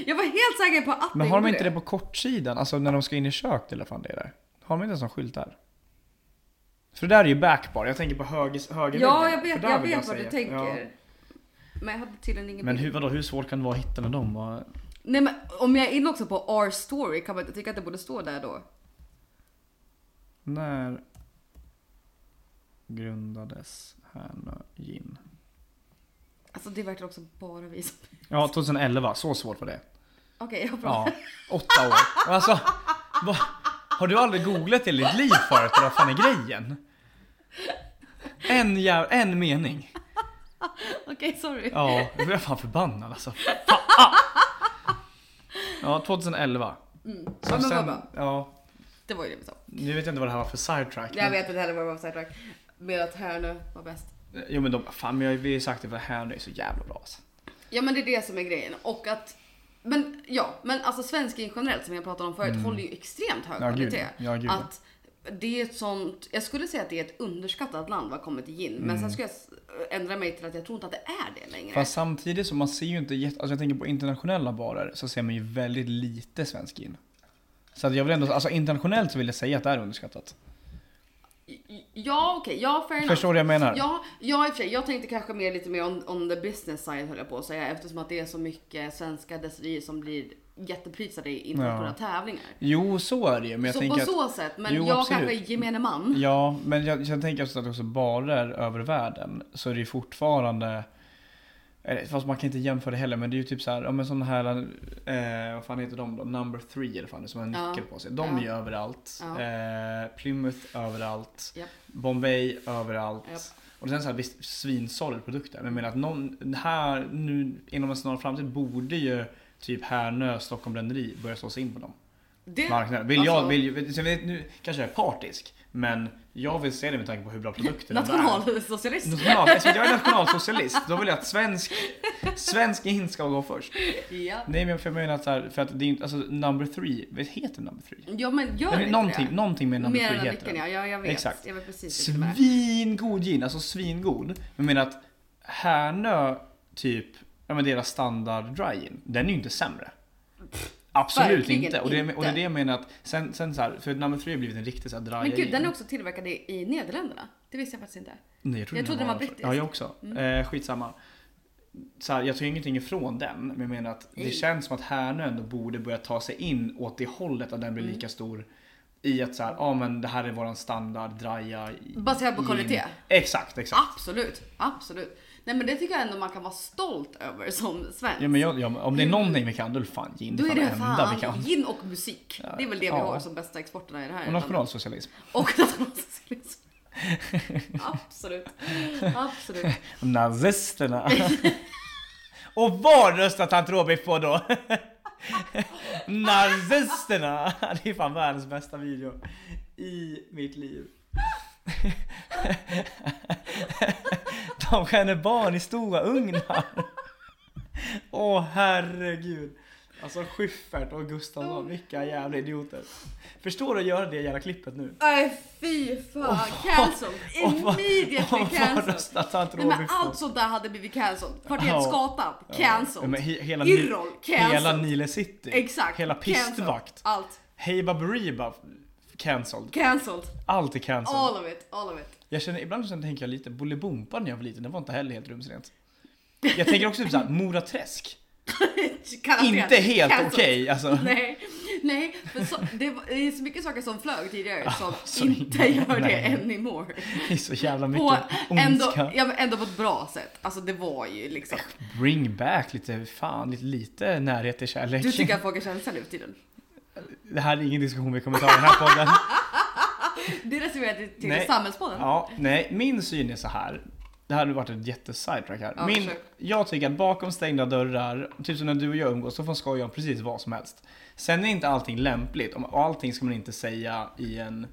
Jag var helt säker på att
Men har de
gjorde
inte det på kortsidan? Alltså när de ska in i köket eller fan det är där? Har de inte en sån skylt där? För det där är ju backbar, jag tänker på höger, höger
Ja
väggen.
jag vet,
För där
jag
vill
vet vad
säga-
du
Ja.
tänker. Men jag hade tydligen ingen
Men
bild.
hur, vadå, hur svårt kan det vara att hitta med dem? Vad-
Nej men om jag är inne också på our story kan man inte tycka att det borde stå där då?
När grundades Härnö gin?
Alltså det verkar också bara vi som...
Ja, 2011, så svårt var det.
Okej, jag bra.
Ja, åtta år. Alltså, va? Har du aldrig googlat i ditt liv förut? Vad fan är grejen? En, jäv, en mening.
Okej, sorry.
Ja, jag blev fan förbannad alltså. Fan. Ja, 2011.
Mm.
Så
Ja, men vad
sen-
bra.
ja,
Det var ju det vi sa.
nu vet jag inte vad det här var för sidetrack.
Jag
men-
vet inte heller vad det var för sidetrack. Mer att här nu var bäst.
Jo men de, fan men jag, vi har ju sagt det för här nu är så jävla bra alltså.
Ja men det är det som är grejen och att men ja, men alltså svensk in generellt som jag pratade om förut håller ju extremt hög
Mm. Ja, gud,
kvalitet.
ja, gud.
att det är ett sånt, jag skulle säga att det är ett underskattat land vad kommer till gin. Men sen skulle jag s- ändra mig till att jag tror inte att det är det längre.
Mm. Fast samtidigt så man ser ju inte jätte, alltså jag tänker på internationella barer så ser man ju väldigt lite svensk in. Så att jag vill ändå, alltså internationellt så vill jag säga att det är underskattat.
Ja okej, ja fair enough.
Förstår du vad jag menar?
Ja, ja i och för sig. Jag tänkte kanske mer lite mer on, on the business side höll jag på att säga eftersom att det är så mycket svenska destillerier som blir jätteprisade i internationella tävlingar.
Jo så är det ju men jag
så på
tänker att,
så sätt, men
Jo,
jag
absolut.
kanske är gemene man.
Ja men jag, jag tänker också att också barer över världen så är det ju fortfarande eller, Fast man kan inte jämföra det heller men det är ju typ såhär, ja men sådana här, eh, vad fan heter de då? Number three eller fan det som har en
Ja.
nyckel på sig. De är ju överallt.
Ja.
Eh, Plymouth överallt.
Japp.
Bombay överallt.
Japp.
Och sen så här, visst, svinsåld produkter. Men jag menar att någon, här nu inom en snar framtid borde ju typ Härnö, Stockholm Bränneri börja slå sig in på dem.
Det,
marknaden. Vill
alltså,
jag, vill, ju- vet- så vet, nu kanske jag är partisk, men jag vill se det med tanke på hur bra produkten är.
Nationalsocialist.
National, eftersom jag är nationalsocialist, då vill jag att svensk, svensk in ska gå först.
Ja.
Nej men för jag menar att, så här, för att det är inte, alltså number three, vad heter number three?
ja men gör
Nej, men
inte
någonting,
det.
någonting med number
Mer än
three
den
heter
vilken
den.
ja, ja, jag vet.
Exakt.
Jag vet precis vilken det är.
Svingod gin, alltså svingod. Men jag menar att Härnö, typ, ja men deras standard dry gin, den är ju inte sämre. Absolut
verkligen
inte. Och, det,
inte.
och det är det jag menar att, sen, sen så här, för number three har blivit en riktig så här dry
Men gud,
gin.
den är också tillverkad i, i Nederländerna. Det visste jag faktiskt inte.
Nej, jag trodde,
jag trodde den var brittisk. Mm.
Ja, jag också. Eh, skitsamma. Så här, jag tar ingenting ifrån den, men jag menar att det
Nej.
känns som att Härnö ändå borde börja ta sig in åt det hållet att den
Mm.
blir lika stor. I att så här, ja ah, men det här är våran standard draja.
Baserat på
gin.
kvalitet.
Exakt, exakt.
Absolut, absolut. Nej men det tycker jag ändå man kan vara stolt över som svensk.
Ja, men jag, jag, om det är någonting vi kan, då är det fan gin.
Då är det
enda vi kan.
fan gin och musik. Det är väl det vi
Ja.
har som bästa exporterna i det här.
Och
landet.
nationalsocialism.
Och nationalsocialism. Absolut. Absolut.
Nazisterna. Och vad röstar tant Robert på då? Nazisterna! Det är fan världens bästa video i mitt liv. De skänner barn i stora ugnar. Åh herregud. Alltså Schyffert och Gustafsson, vilka jävla idioter. Förstår du att göra det jävla klippet nu?
Nej fy fan. Cancelled.
Och vad-
Immediately
och vad
cancelled.
röstar tant
Nej men
Robert på?
allt sånt där hade blivit cancelled. Kvarteretsgatan,
Ja,
cancelled.
men he- hela,
Yrrol, cancelled.
hela Nile City.
Exakt.
Hela
cancelled.
pistvakt.
Allt.
Hey Baberiba. Cancelled.
Cancelled.
Allt är cancelled.
All of it. All of it.
Jag känner, ibland så tänker jag lite Bolibompa när jag var liten. Det var inte heller helt rumsrent. Jag tänker också typ såhär Mora Träsk.
Garanterat.
Inte helt okej
Cancelled.
alltså.
Nej, nej för så, det, var, det är så mycket saker som flög tidigare som
så-
inte gör
nej.
det anymore.
Det är så jävla
På,
mycket
ändå,
ondska.
ja, men ändå på ett bra sätt. Alltså det var ju liksom.
Bring back lite, fan, lite, lite närhet till kärlek.
Du tycker att folk är känsliga nu för tiden.
Det här är ingen diskussion vi kommer ta i den här podden.
Det reserverar jag till
Nej.
Samhällspodden.
Ja, nej, min syn är så här. Det här hade varit ett jättesidetrack här.
Ja,
min,
försök.
jag tycker att bakom stängda dörrar, typ som när du och jag umgås, så får man skoja om precis vad som helst. Sen är inte allting lämpligt om- och allting ska man inte säga i en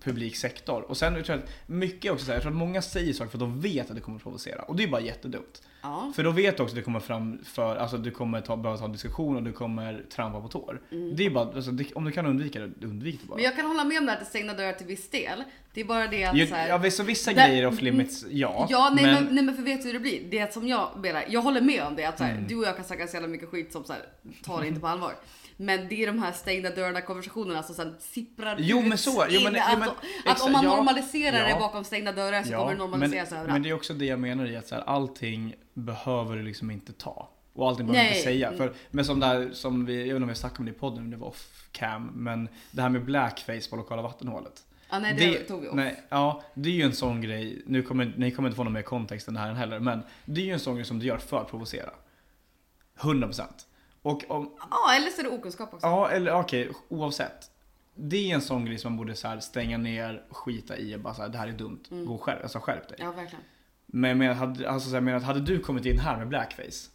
publik sektor. Och sen tror jag att mycket också, så här, jag tror att många säger saker för att de vet att det kommer provocera. Och det är bara jättedumt.
Ja.
För då vet du också att du kommer fram för, alltså du kommer ta, behöva ta en diskussion och du kommer trampa på tår. Det är bara, alltså, det, om du kan undvika det, undvik det bara.
Mm. Men jag kan hålla med om det här att det stängda dörrar till viss del. Det är bara det att
Ju-
så här,
Ja, visst, så vissa
Där-
grejer är off limits, ja.
Ja, nej men, nej men för vet du hur det blir? Det som jag menar, jag håller med om det att så
Mm.
här, du och jag kan snacka så jävla mycket skit som så här, tar det inte på allvar. Men det är de här stängda dörrarna konversationerna som sen sipprar
Jo,
ut.
men så är det. Jo, men-
in.
jo,
Alltså,
men-
att om
exakt,
man
ja,
normaliserar det
ja.
bakom stängda dörrar så kommer det normaliseras
men, men
överallt.
det är också det jag menar i att så här, allting behöver du liksom inte ta. Och allting behöver
Nej.
du inte säga.
Mm.
För, men som där, som vi, jag vet inte om vi snackade om det i podden, men det var off cam. Men det här med blackface på lokala vattenhålet.
ja, nej, det, tog vi också.
nej, ja, det är ju en sån grej, nu kommer, ni kommer inte få någon mer kontext än det här heller. Men det är ju en sån grej som du gör för att provocera. 100%. Och om,
Ja, eller så är det okunskap också.
Ja, eller okej, oavsett. Det är en sån grej som man borde så här stänga ner, skita i och bara så här, det här är dumt. Gå och skärp, alltså skärp dig.
Mm. Ja, verkligen.
Men jag menar, hade, alltså, så här, jag menar, att hade du kommit in här med blackface.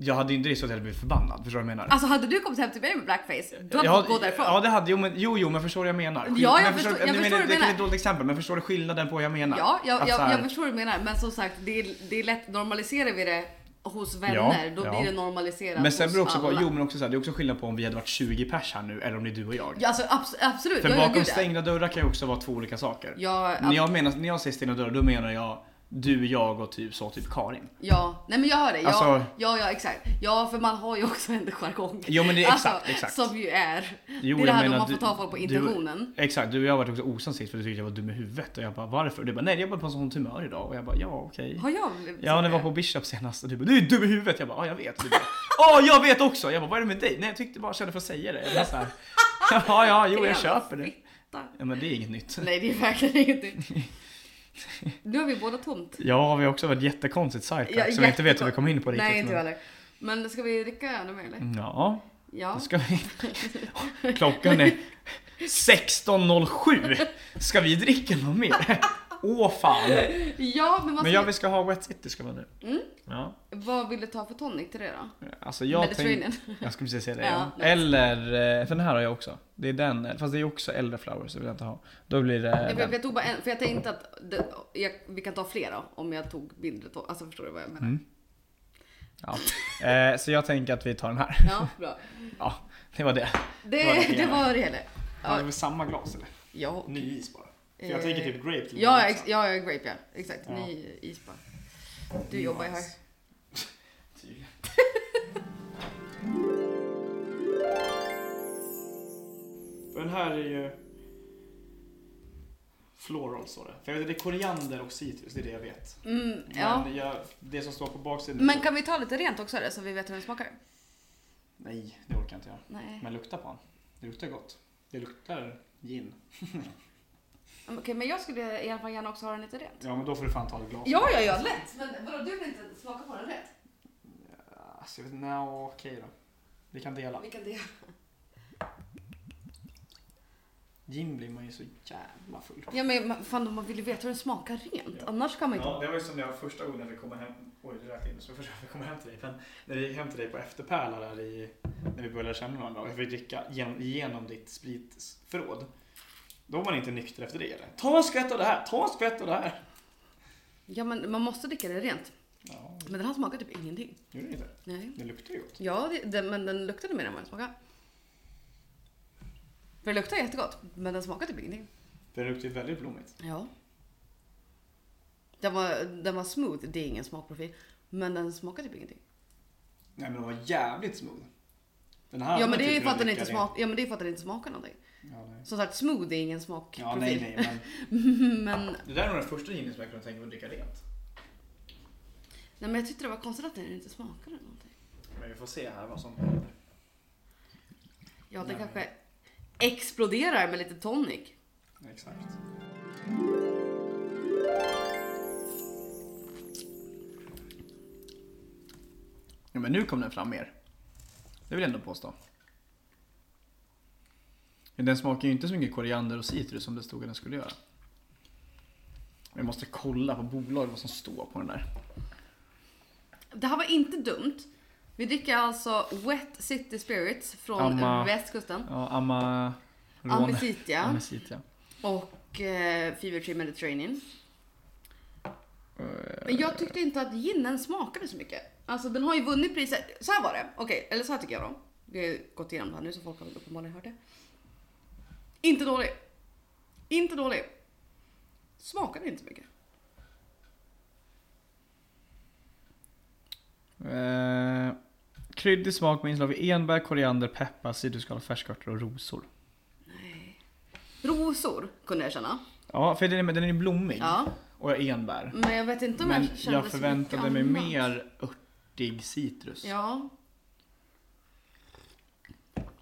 Jag hade ju inte det så att jag hade blivit förbannad, förstår du vad jag menar?
Alltså hade du kommit hem till mig med blackface, du hade
Ja,
fått gå därifrån.
Ja, det hade, jo, men, jo, jo, men förstår du vad jag menar? Skil-
Ja, jag
men
förstår- jag
men-
förstår vad du
Det är
menar.
ett dåligt exempel, men förstår du skillnaden på vad jag menar?
Ja, jag,
Att så
jag,
här-
jag förstår vad du menar. Men som sagt, det är, det är lätt, normaliserar vi det hos vänner, då
ja.
blir det normaliserat
Men sen
hos
beror det också på,
alla.
jo men också så här, det är också skillnad på om vi hade varit 20 pers här nu eller om det är du och jag.
Ja, alltså, abs- absolut.
För
ja, ja,
bakom
gud, ja.
stängda dörrar kan ju också vara två olika saker.
Ja,
När
ja,
jag, menar, när jag säger Stina Dörr, då menar jag du, jag och typ så, typ Karin.
ja, nej men jag hör det. Ja,
Alltså-
ja, ja, exakt. Ja, för man har ju också en jargong. Alltså,
Jo, men det är exakt, exakt.
Som ju är.
Jo,
det är det
jag
här då
menar
man får
du-
ta folk på
du-
intentionen.
Exakt, du och jag har varit också osams sist för du tyckte jag var dum i huvudet och jag bara varför? Och du bara nej, jag var på sånt humör idag och jag bara ja okej.
Har jag blivit
Ja, när jag var på Bishop senast och du bara du är dum i huvudet. Jag bara ja, jag vet. Du bara, Ja, jag vet också. Jag bara vad är det med dig? Nej, jag tyckte bara kände för att säga det. Jag bara, så här, ja, ja, jo, jag köper det. Ja, men det är inget nytt.
Nej, det är verkligen ingenting. Nu har vi båda tomt.
Ja, vi har också varit jättekonstigt side
Ja,
track som jag inte vet hur vi
jättekon-
kom in på riktigt.
Nej, inte jag
men... Mm.
heller. Men ska vi dricka ännu mer eller?
Ja,
Ja.
Då ska vi... Klockan är 16.07. Ska vi dricka något mer? Åh fan!
Ja, men vad,
Men
ska,
jag vi ska ha Wet City ska vara nu.
Mm.
Ja.
vad vill du ta för tonic till det då?
Alltså jag tänkte...
Mediterranean.
Jag skulle precis säga det.
Ja,
Ja,
nice.
Eller, eh, för den här har jag också. Det är den, eh, fast det är också Elderflowers, det vill jag inte ha. Då blir det...
Jag,
den.
jag, jag tog bara en, för jag tänkte att det, jag, vi kan ta flera om jag tog mindre. To- alltså förstår du vad jag menar?
Mm. Ja. Eh, så jag tänker att vi tar den här.
Ja, bra.
Ja, det var det.
Det,
Var det
det var det hela. Ja.
väl samma glas eller?
Ja,
Ny is bara.
För jag Eh, tänker typ
grape till
ja, ex, ja, jag är grape ja. Exakt,
Ja.
ny isbar. Du jobbar ju här.
Den här är ju... Floral står det. För jag vet att det är koriander och citrus, det är det jag vet.
Mm, ja.
det som står på baksidan...
Men kan vi ta lite rent också eller, så vi vet hur den smakar?
Nej, det orkar jag inte göra.
Nej.
Men lukta på den. Det luktar gott. Det luktar gin.
Mm, Okej, men jag skulle i alla fall gärna också ha den lite rent.
Ja, men då får du fan ta ett glas.
Ja, ja, ja, lätt. Men vadå, du vill inte smaka på den rätt?
Alltså, jag vet inte. No, okej då. Vi kan dela.
Vilken del?
Gin blir man ju så jävla full
Ja, men man- fan, man vill ju veta hur den smakar rent.
Ja.
Annars kan man ju inte...
Ja, det var ju som jag första gången vi kom hem, oj det räknade in, så första gången vi kom hem till dig. Men när vi gick hem till dig på efterpärla där i, när vi började känna varandra och jag fick dricka genom, genom ditt spritförråd. Då var man inte nykter efter det eller? Ta en skvätt av det här, ta en skvätt av det här.
Ja, men man måste dricka det rent.
Ja,
Men den här smakar typ ingenting.
gjorde det inte?
Nej.
Det luktar ju gott.
Ja, det, den, men den luktade mer än vad den smakade. För det luktar jättegott, men den smakar typ ingenting.
Det luktar ju väldigt blommigt.
Ja. Den var, den var smooth, det är ingen smakprofil. Men den smakar typ ingenting.
Nej men den var jävligt smooth. Den här
Ja
hade
men, det är
typ
ju för att
kunnat
den
dricka
inte
ren.
smak, ja men det är för att den inte smakar någonting.
Ja, nej.
Som sagt, smooth är ingen
Ja,
smakprofil.
nej, nej, men
men, nej
det där är nog den första ginen som jag kunde tänka mig att dricka rent.
men jag tyckte det var konstigt att den inte smakade någonting.
Men vi får se här vad som händer.
Ja, den
Nej.
kanske exploderar med lite tonic.
Exakt. Ja, men nu kom den fram mer. Det vill jag ändå påstå. Men den smakar ju inte så mycket koriander och citrus som det stod att den skulle göra. Men Jag måste kolla på bolaget vad som står på den där.
Det här var inte dumt. Vi dricker alltså Wet City Spirits från
Amma.
västkusten.
Ja, Ama...
Amicitia
Amicitia.
och eh, Fever Tree Mediterranean. Men jag tyckte inte att ginen smakade så mycket. Alltså den har ju vunnit priset. Så här var det. Okej, eller så här tycker jag då. Vi har ju gått igenom det här nu så folk har väl uppenbarligen hört det. Inte dålig. Inte dålig. Smakade inte så mycket.
Eh, kryddig smak med inslag av enbär, koriander, peppar, citrusskal, färskörter och rosor.
Nej. Rosor kunde jag känna.
Ja, för den är, den är ju blommig
Ja. Mm.
och enbär.
Men jag vet inte om
Men
jag kände
jag
så
förväntade
mycket
mig
annat.
mer örtig citrus.
Ja.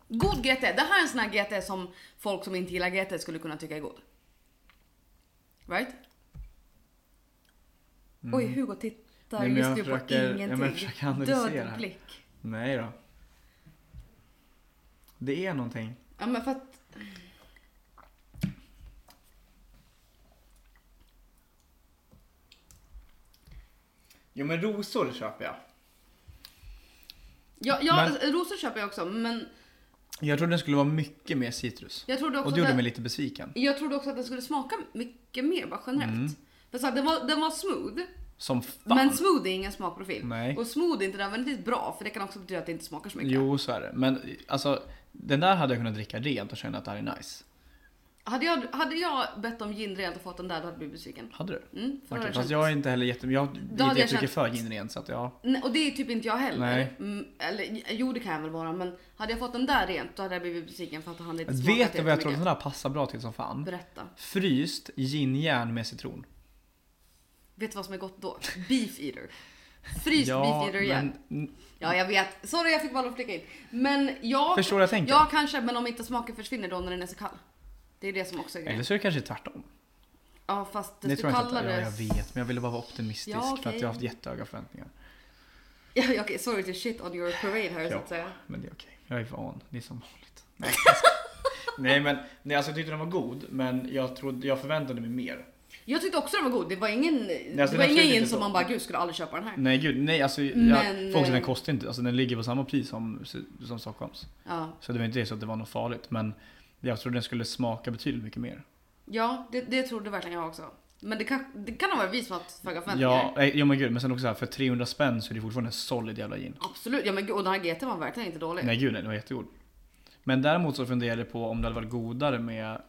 God GT. Det här är en sån här GT som folk som inte gillar GT skulle kunna tycka är god. Right?
Mm.
Oj, Hugo tittar
Nej, men
just
jag
nu på
försöker- ja,
ingenting.
men jag försöker analysera
Död
här.
blick.
Nej då. Det är någonting.
Ja, men för att...
Jo men rosor köper jag.
Ja, ja rosor köper jag också, men
Jag trodde den skulle vara mycket mer citrus.
jag trodde också,
Och det gjorde
att,
mig
den,
lite besviken.
jag trodde också att den skulle smaka mycket mer, bara generellt. För så här, den, var, den var smooth,
Som fan.
men smooth är ingen smakprofil.
Nej.
Och smooth är inte nödvändigtvis bra, för det kan också betyda att det inte smakar så mycket.
Jo så är det. Men alltså, den där hade jag kunnat dricka rent och känna att det här är nice.
Hade jag, hade jag bett om gin rent och fått den där, då hade du blivit besviken.
Hade du?
Mm, för då hade
Okej,
jag
fast
känt-
jag är inte heller jätte... Jag, det är
hade
inte
jag
jättemycket
känt-
för gin rent så att ja.
Nej, och det är typ inte jag heller.
Nej.
Mm, eller jo, det kan jag väl vara, men hade jag fått den där rent, då hade jag blivit besviken för att han inte smakat
Vet du vad jag
jättemycket.
tror att den där passar bra till som fan?
Berätta.
Fryst ginjärn med citron.
Vet du vad som är gott då? Beef eater. Fryst beef eater igen.
men-
Ja, jag vet. Sorry, jag fick bara att flika in. Men ja,
Förstår du vad jag tänker?
ja, kanske, men om inte smaken försvinner då när den är så kall. Det är det som också är
Eller
grejen.
så är det kanske tvärtom.
Ja, fast
Det
desto
tror jag inte. att-
kallare...
Ja, jag vet, men jag ville bara vara optimistisk
Ja,
för att
okej.
jag har haft jättehöga förväntningar.
Ja, okej, sorry to shit on your parade här så
Ja.
att säga.
Men det är okej, jag är van. Det är som vanligt. Nej, alltså. nej men nej, alltså, jag tyckte den var god, men jag, trodde, jag förväntade mig mer.
Jag tyckte också den var god. Det var ingen,
alltså,
det var
den
ingen
absolut
gin
inte
som
då.
man bara, gud skulle aldrig köpa den här.
Nej gud, nej alltså. Jag,
Men,
folk säger
eh,
den kostar inte, alltså den ligger på samma pris som, som Stockholms.
Ja,
Så det var inte det så att det var något farligt. Men jag trodde den skulle smaka betydligt mycket mer.
ja det, det trodde verkligen jag också. Men det kan, det kan ha varit vi som haft för höga förväntningar.
Ja, nej, ja men gud, men sen också så här, för 300 spänn så är det fortfarande en solid jävla gin.
Absolut, ja men gud, och den här GT var verkligen inte dålig.
Nej gud, nej, den var jättegod. Men däremot så funderade jag på om det hade varit godare med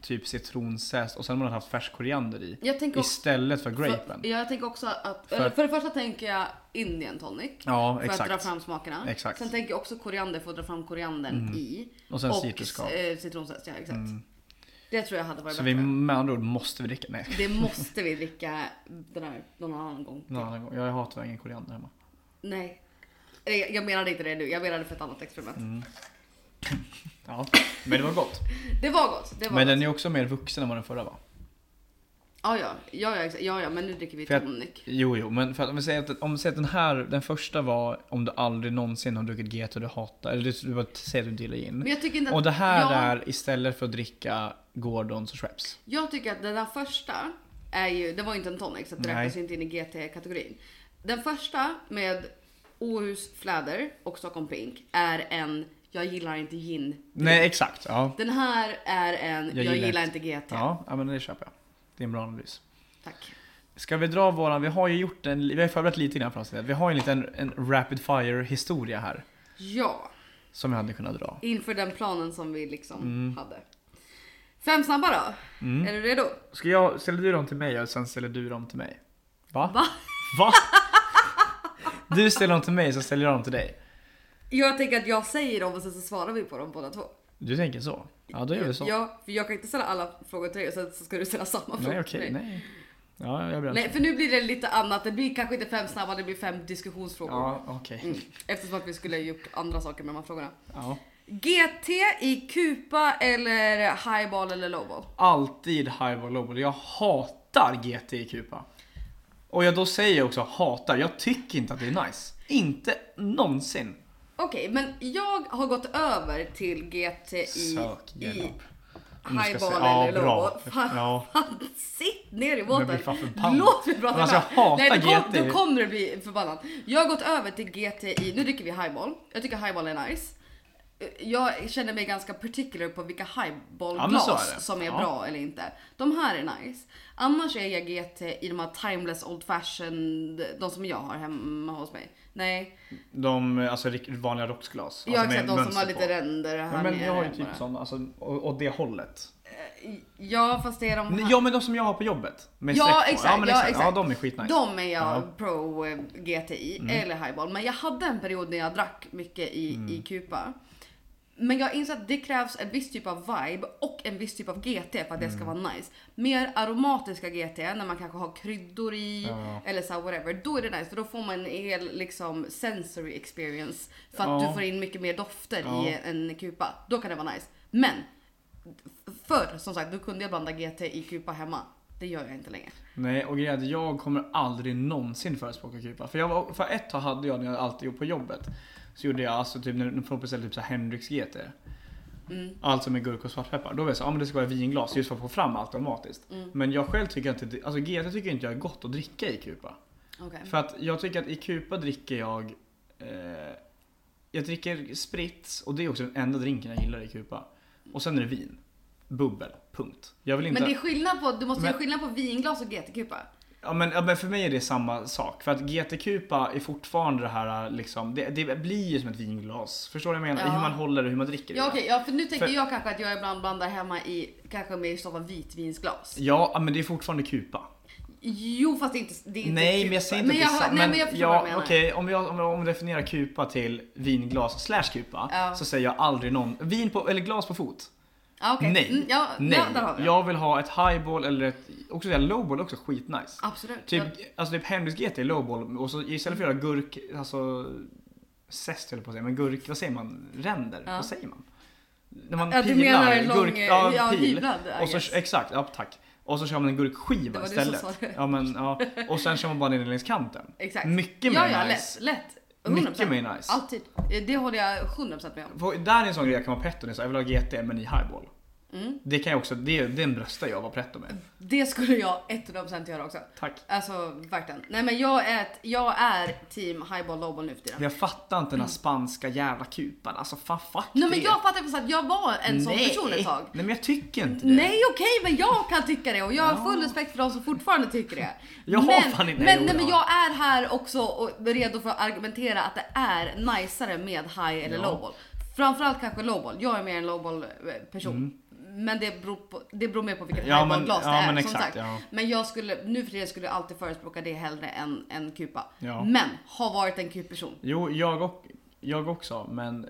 typ citronzest och sen om man hade haft färsk koriander i.
Jag tänker också,
Istället för
för,
grapen.
jag tänker också att,
För-
för, för det första tänker jag Indian tonic.
Ja,
För att dra
exakt.
fram smakerna.
Exakt.
Sen tänker jag också koriander för att dra fram koriandern i.
Och sen
och
citruskal.
eh, citronzest, ja exakt. Det tror jag hade varit
Så vi
bättre.
med andra ord måste vi dricka. Nej,
Det måste vi dricka den här någon annan gång.
någon annan gång. Jag har tyvärr ingen koriander hemma.
Nej. Eh, Jag menade inte det nu, jag menade för ett annat experiment.
Mm. Ja, men det var gott.
Det var gott. Det var
Men
gott.
den är också mer vuxen än vad den förra var.
Ja, ja, ja, ja, exakt. ja, ja, men nu dricker vi
För jag-
tonic.
Jo, jo, men för att om vi säger att, om vi säger att den här, den första var om du aldrig någonsin har druckit GT och du hatar, eller du, du bara säger att du inte gillar gin.
Men jag tycker inte att...
Och det här
jag,
är istället för att dricka Gordons och Schweppes.
Jag tycker att den där första är ju, det var ju inte en tonic så att det
Nej.
räknas ju inte in i GT-kategorin. Den första med Åhus Fläder och Stockholm Pink är en jag gillar inte gin.
Nej, exakt. Ja.
Den här är en jag,
gillar
gillar,
inte-
inte GT.
Ja, ja, men det köper jag. Det är en bra analys.
Tack.
Ska vi dra våran, vi har ju gjort en, vi har ju förberett lite grann för oss. Vi har ju en liten en rapid fire historia här.
Ja,
Som vi hade kunnat dra.
inför den planen som vi liksom
Mm.
hade. Fem snabba då. Är du redo?
Ska jag, ställer du dem till mig och sen ställer du dem till mig? Va?
Va?
Va? Du ställer dem till mig så ställer jag dem till dig.
Jag tänker att jag säger dem och sen så svarar vi på dem båda två.
Du tänker så? Ja, då gör vi så.
Ja, för jag kan inte ställa alla frågor till dig och sen så ska du ställa samma frågor
nej,
till
okej,
mig.
nej. Ja, jag är beredd.
Nej, för nu blir det lite annat. Det blir kanske inte fem snabba, det blir fem diskussionsfrågor.
Ja, okej.
Mm. Eftersom att vi skulle ha gjort andra saker med de här frågorna.
Ja.
GT i kupa eller highball eller lowball?
Alltid highball lowball. Jag hatar GT i Kupa. Och jag då säger jag också hatar. Jag tycker inte att det är nice. Inte någonsin.
Okej, men jag har gått över till GT i,
Sök
i
hjälp. Om du ska
highball
säga- ja,
eller
bra.
lowball. Fan,
Ja.
fan, sitt ner i
Men
båten.
bli fan förbannad.
Låt mig prata
Men alltså, jag
klart.
hatar
Nej, då, kom,
GT.
då kommer du bli förbannad. Jag har gått över till GT i, nu dricker vi highball. Jag tycker highball är nice. Jag känner mig ganska particular på vilka
Ja, men
highballglas
så är det.
som är
Ja.
bra eller inte. De här är nice. Annars är jag GT i de här timeless old fashioned, de som jag har hemma hos mig. Nej,
De alltså, rik- vanliga rocksglas.
jag har
alltså, med
exakt de som
mönster
har
på.
lite ränder här
Ja, men
nere
jag har ju
bara.
typ sådana, alltså, och, och det hållet.
Ja fast det är de här.
Ja men de som jag har på jobbet. Med
Ja,
streck på.
exakt,
ja, men
ja,
exakt.
exakt.
Ja, de är skitnice.
De är jag
Ja. Mm.
pro eh, GTI eller highball. Men jag hade en period när jag drack mycket i, i Kupa. Men jag inser att det krävs en viss typ av vibe och en viss typ av GT för att det ska
Mm.
vara nice. Mer aromatiska GT när man kanske har kryddor i
Ja.
eller så här whatever. Då är det nice för då får man en hel liksom sensory experience. För att
Ja.
du får in mycket mer dofter
Ja.
i en kupa. Då kan det vara nice. Men förr som sagt då kunde jag blanda GT i kupa hemma. Det gör jag inte längre.
Nej och grejen är att jag kommer aldrig någonsin förespråka kupa. För, jag var, för ett tag hade jag när jag alltid gjorde på jobbet. Så gjorde jag alltså typ när när folk beställde typ så här Henriks GT.
Mm.
Alltså med gurka och svartpeppar. Då var jag så, ja men det ska vara vinglas just för att få fram allt automatiskt.
Mm.
Men jag själv tycker inte, det- alltså GT tycker inte jag är gott att dricka i kupa.
Mm. Okej.
För att jag tycker att i Kupa dricker jag eh, Jag dricker spritz och det är också den enda drinken jag gillar i Kupa. Och sen är det vin. Bubbel. Punkt. Jag vill inte...
Men det är skillnad på, du måste
Men-
göra skillnad på vinglas och GT-kupa.
ja, men, ja, men för mig är det samma sak. För att GT Kupa är fortfarande det här liksom Det, det blir ju som ett vinglas. Förstår du vad jag menar?
Ja.
Hur man håller det, hur man dricker det.
Ja okej, ja, för nu tänker
För-
jag kanske att jag ibland blandar hemma i kanske mer som ett vitvinsglas.
Ja, men det är fortfarande Kupa.
Jo fast det är inte, det är inte
Nej,
kupa.
men jag säger inte att
men jag, hör-
det är sant,
Nej men jag förstår
ja,
vad du menar.
Okej, om jag om jag om jag definierar kupa till vinglas slash kupa
Ja.
så säger jag aldrig någon vin på eller glas på fot.
Ja, okej.
Nej.
Mm, ja,
Nej,
Ja, där har vi det.
jag vill ha ett highball eller ett, också det här lowball är också skitnice.
Absolut.
Typ,
Ja.
alltså typ Henrys GT är lowball och så istället för att göra gurk, alltså zest höll jag på att säga, men gurk, vad säger man? Ränder?
Ja.
Vad säger man? När man
Ja, du menar en lång, eh,
ja,
ja,
pil.
hyvlad, I
Och
guess.
så, exakt, ja tack. Och så kör man en
Det
gurkskiva
var du som
istället.
sa det.
Ja, men, ja. Och sen kör man bara ner den längs kanten.
Exakt.
Mycket
ja,
mer
ja,
nice.
lätt. lätt. 100%.
Mycket mer nice.
Alltid. Det håller jag 100% med om.
På- Där är en sån grej jag kan vara petto, det är så här, jag vill ha GT men i highball.
Mm.
Det kan jag också, det, den bröstar jag var pretto med.
Det skulle jag 100% göra också.
Tack.
Alltså verkligen. Nej men jag är, ett, jag är team highball lowball nu för tiden.
Jag fattar inte den här spanska jävla kupan, alltså fan fuck
Mm. Nej men
det.
jag fattar precis att jag var en sån
Nej.
person ett tag.
Nej men jag tycker inte det.
Nej okej men jag kan tycka det och jag har full respekt för de som fortfarande tycker det.
Jag har
men,
fan inte- nej,
men,
jo,
nej, men
jag
jag är här också och är redo för att argumentera att det är najsare med high eller
Ja.
lowball. Framförallt kanske lowball. Jag är mer en lowball eh, person. Men det beror, på, det beror mer på vilket
Mm. Ja, men-
highball-glas
ja,
det är.
men
som
exakt,
sagt.
ja.
Men jag skulle, nu för tiden skulle jag alltid förespråka det hellre än en kupa.
Ja.
Men har varit en kupperson.
Jo, jag, och, jag också, men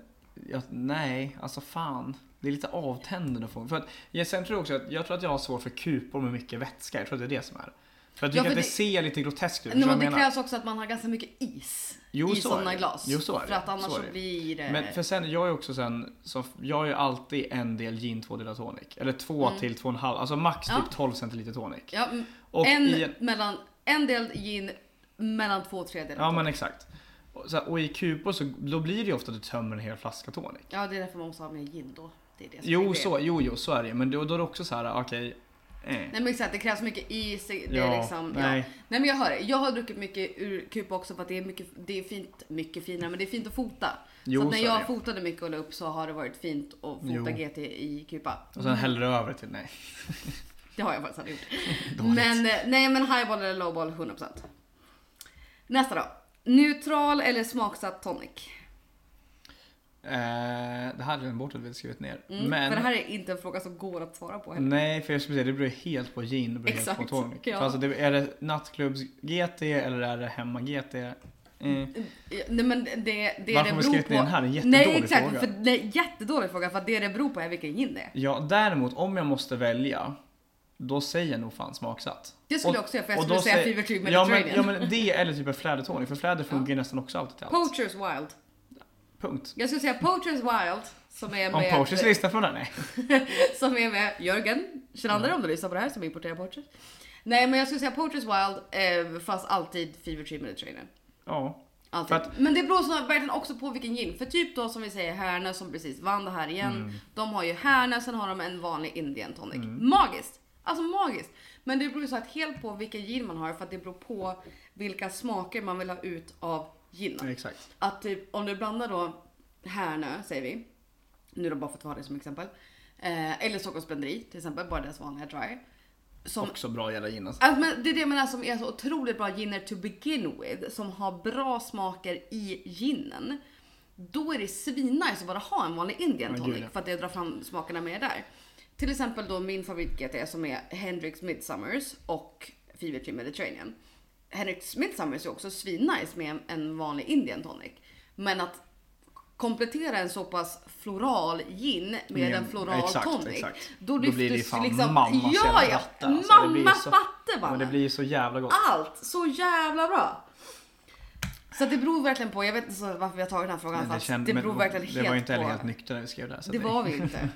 jag, nej, alltså fan. Det är lite avtändande att få. För att, jag, sen tror jag också att jag tror att jag har svårt för kupor med mycket vätska. Jag tror att det är det som är. För jag tycker
för
att det,
det-
ser lite groteskt
Nej,
ut. förstår du
men
vad
det
jag menar?
krävs också att man har ganska mycket is
Jo,
i
så är
sådana
det.
glas.
Jo, så är det.
För att annars
Så är
så
det.
blir det...
Men för sen, jag är också sen, så jag är ju alltid en del gin, två delar tonic. Eller två till två och en halv, alltså max
Mm. Ja.
typ 12 centiliter tonic.
Ja, mm,
Och
en,
i en,
mellan, en del gin mellan två och tre delar.
ja men exakt. Och, så här, och i kupor så då blir det ju ofta att du tömmer en hel flaska tonic.
ja, det är därför man måste ha mer gin då. Det är det som är
Jo,
grejen.
så, jo, jo, så är det ju. Men då, då är det också så här, okej. eh.
Nej men exakt, det krävs mycket is. Det
Ja,
är liksom, nej. Ja.
nej.
nej men jag hör det. Jag har druckit mycket ur kupa också för att det är, mycket, det är fint, mycket finare, men det är fint att fota.
Jo,
så att när
så är
jag
det.
fotade mycket och la upp så har det varit fint att fota
Jo.
GT i kupa.
Och sen häller du över till, nej.
Det har jag faktiskt aldrig gjort.
Dåligt.
men eh, nej men highball eller lowball 100%. Nästa då. Neutral eller smaksatt tonic?
Eh, det här hade jag bort att vi hade skrivit ner.
Mm,
men, Mm.
För det här är inte en fråga som går att svara på heller.
Nej, för jag skulle säga det beror ju helt på gin och beror helt på
Exakt,
tonic.
ja.
Så alltså, det, är det nattklubbs-GT eller är det hemma-GT? Eh.
Nej men det, det
Varför
det
har vi
beror
skrivit
på...
ner den här? Det är en jättedålig
Nej exakt,
fråga.
för det är en jättedålig fråga för att det det beror på är vilken gin det är.
Ja, däremot om jag måste välja, då säger jag nog fan smaksatt.
Det skulle
Och-
jag också göra för jag
och
skulle
då
säga
säger-
Fever Tree
Ja men,
Mediterranean.
ja men det eller typ en flädertonic, för fläder funkar ju nästan också alltid till allt.
Poachers Wild.
Punkt.
Jag skulle säga Poachers Wild som är
Om
med...
Poachers lyssnar på den här, nej.
som är med Jörgen Kjellander om du lyssnar på det här som importerar Poachers. Nej men jag skulle säga Poachers Wild eh, fast alltid Fever Tree Mediterranean.
Ja.
Alltid.
För att-
typ. Men det beror så verkligen också på vilken gin. För typ då som vi säger Härnö som precis vann det här igen.
Mm.
De har ju Härnö, sen har de en vanlig Indian tonic. Magiskt! Alltså magiskt. Men det beror ju så att helt på vilken gin man har för att det beror på vilka smaker man vill ha ut av ginen.
Exakt.
Att typ, om du blandar då Härnö, säger vi. Nu då bara för att ta det som exempel. Eh, eller Stockholms Blenderi till exempel, bara deras vanliga dry. Som
Också bra jävla gin alltså.
Alltså, men det är det jag menar som är så otroligt bra giner to begin with, som har bra smaker i ginen. Då är det svinnice att bara ha en vanlig Indian
Men gud,
tonic
ja.
för att det drar fram smakerna mer där. Till exempel då min favorit GT som är Hendrix Midsummers och Fever Tree Mediterranean. Hendrix Midsummers är också svinnice med en- en vanlig Indian tonic. Men att komplettera en så pass floral gin med
Med-
en floral
exakt,
tonic.
exakt.
Då
Då blir
lyfts
det ju
ju
fan
liksom...
mammas
ja,
jävla
ja,
vatten, alltså. Det blir ju
mammas
så-
vatten
Men det
bara.
blir ju så jävla gott.
Allt! Så jävla bra! Så att det beror verkligen på, jag vet inte så varför vi har tagit den här frågan
Men
fast det, beror
men
verkligen
det
helt
var ju inte
på.
heller helt nyktra när vi skrev det här. Så
det
det-
var vi inte.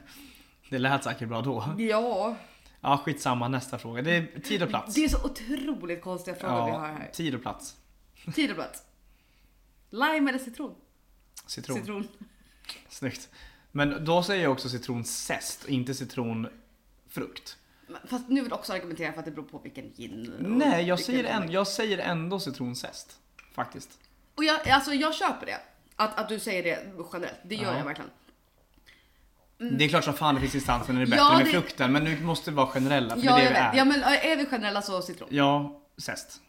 Det lät säkert bra då.
Ja,
Ja, skitsamma. Nästa fråga. Det är tid och plats.
det är så otroligt konstiga frågor vi har
Ja,
här.
tid och plats.
Tid och plats. Lime eller citron?
Citron.
Citron.
Snyggt. Men då säger jag också citronzest, inte citronfrukt.
Men- Fast nu vill jag också argumentera för att det beror på vilken gin. och
Nej, jag
vilken
säger,
tonic.
en, jag säger ändå citronzest. Faktiskt.
Och jag, alltså jag köper det. Att, att du säger det generellt, det gör
Ja.
jag verkligen.
Det är klart som fan det finns instanser när det är bättre
Mm. Ja,
med
det-
frukten, men nu måste vi vara generella. För
Ja,
det är
jag
Alltså, det vi
vet.
är.
Ja, men är vi generella så citron.
Ja, zest.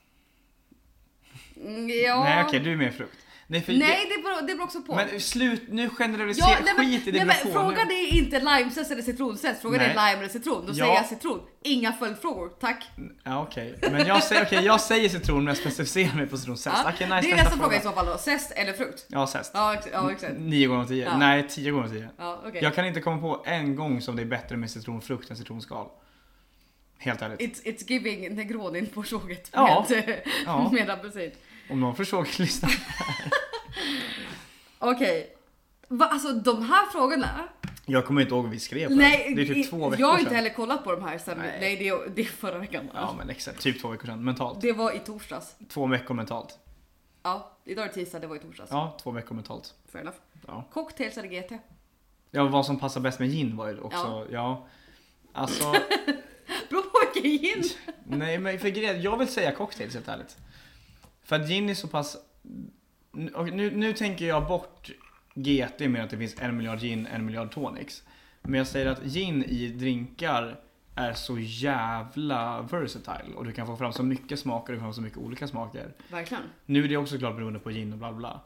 Mm, Ja.
Nej okej, du är mer frukt. Nej, för
Nej, det beror, det beror också på.
Men slut, nu generaliserar,
Ja, nej, men,
skit i
nej,
dina
men
frågor.
frågan är inte limezest eller citronzest, frågan är
Nej.
lime eller citron. Då
Ja.
säger jag citron. Inga följdfrågor, tack.
Ja okej, men jag säger, okej, jag säger citron men jag specificerar mig på citronzest.
Ja.
Okej, nice,
det är
nästa
nästa fråga i så fall då, zest eller frukt?
Ja, zest.
Ja, ex- ja exakt.
Nio gånger av tio.
Ja.
Nej, tio gånger av tio.
Ja, okej.
Jag kan inte komma på en gång som det är bättre med citronfrukt än citronskal. Helt ärligt.
It's, it's giving negronin på tjoget
Ja.
med,
Ja.
med apelsin.
Om någon försöker lyssna.
Okej. Va, Alltså de här frågorna.
Jag kommer inte ihåg vad vi skrev på
Nej,
den. Det är typ
i-
två veckor
jag har inte
sedan.
heller kollat på de här sen. Nej,
Nej.
det, är, det är förra veckan.
Ja men exakt, typ två veckor sedan. Mentalt.
Det var i torsdags.
Två veckor mentalt.
Ja, idag är det tisdag, det var i torsdags.
Ja, två veckor mentalt.
Fair enough.
Ja.
Cocktails eller GT?
ja, vad som passar bäst med gin var ju också, ja. Alltså,
Beror på vilken gin.
nej men för grejen, jag vill säga cocktails helt ärligt. För att gin är så pass... och Nu, nu tänker jag bort GT med att det finns en miljard gin, en miljard tonics. Men jag säger att gin i drinkar är så jävla versatile och du kan få fram så mycket smaker, du kan få så mycket olika smaker.
Verkligen.
Nu är det också klart beroende på gin och bla bla bla.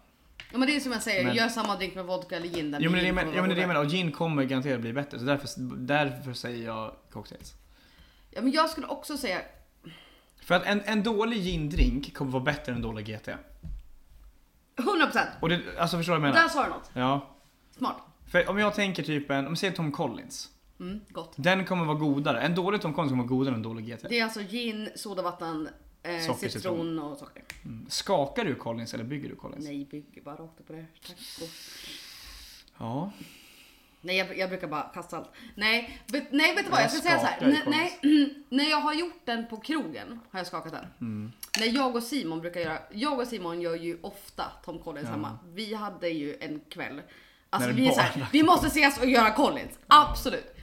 Ja, men det är som jag säger,
Men-
gör samma drink med vodka eller gin. där
Jo men det är
gin
det
kommer
jag menar, det
vara
jag menar, och gin kommer garanterat bli bättre så därför, därför säger jag cocktails.
Ja, men jag skulle också säga,
För att en, en dålig gindrink kommer vara bättre än en dålig GT.
100%.
Och det, alltså förstår du vad jag
Där
menar?
sa du något.
Ja.
Smart.
För om jag tänker typ en, om vi säger Tom Collins.
Mm, gott.
Den kommer vara godare. En dålig Tom Collins kommer vara godare än en dålig GT.
Det är alltså gin, sodavatten, eh,
Socker,
citron,
citron.
och socker.
Mm. Skakar du Collins eller bygger du Collins?
Nej, bygg bara rakt upp på det. Tack och
Ja.
Nej jag, jag brukar bara kasta allt. Nej, vet, nej vet du vad jag ska säga så här.
skakar i
Nej, nej, när jag har gjort den på krogen har jag skakat den.
Mm.
När jag och Simon brukar göra, jag och Simon gör ju ofta Tom Collins
Ja.
hemma. Vi hade ju en kväll. Alltså
När
vi är
barn-
så här, vi måste ses och göra Collins. Absolut.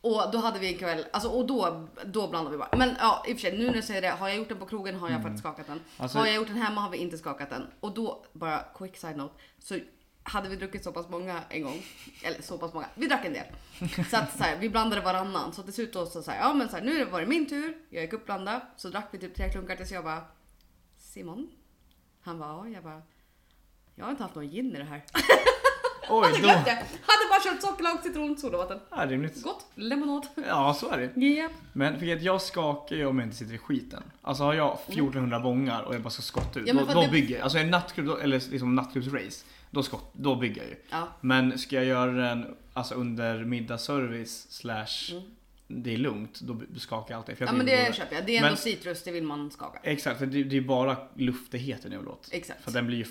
Och då hade vi en kväll, alltså, och då, då blandade vi bara. Men ja, i och för sig, nu när jag säger det, har jag gjort den på krogen har jag faktiskt skakat den.
Mm. Alltså-
har jag gjort den hemma har vi inte skakat den. Och då, bara quick side note, så hade vi druckit så pass många en gång, eller så pass många, vi drack en del. Så att så här, vi blandade varannan. Så till slut då så, så här, ja men så här, nu var det min tur, jag gick upp och blandade. Så drack vi typ tre klunkar tills jag bara, Simon? Han bara, ja, jag bara, jag har inte haft någon gin i det här.
Oj,
Hade
då.
glömt det! Hade bara köpt sockerlag, citron, sodavatten.
Ja, rimligt.
Gott, lemonad.
Ja, så är det.
Japp.
Men för att jag skakar ju om jag inte sitter i skiten. Alltså har jag 1400 bångar och jag bara ska skotta ut,
Mm. Ja, men
då,
för
då
det-
bygger jag. Alltså är det nattklubb, då- eller liksom nattklubbsrace, då, skott, då bygger jag ju.
Ja.
Men ska jag göra den alltså under middagsservice slash det är lugnt, då b- skakar jag alltid. För jag
Mm. Ja men
tycker
det
både-
köper jag. Det är ändå
Men-
citrus, det vill man skaka.
Exakt, för det, det är ju bara luftigheten i vår låt.
Exakt.
För den blir ju, f-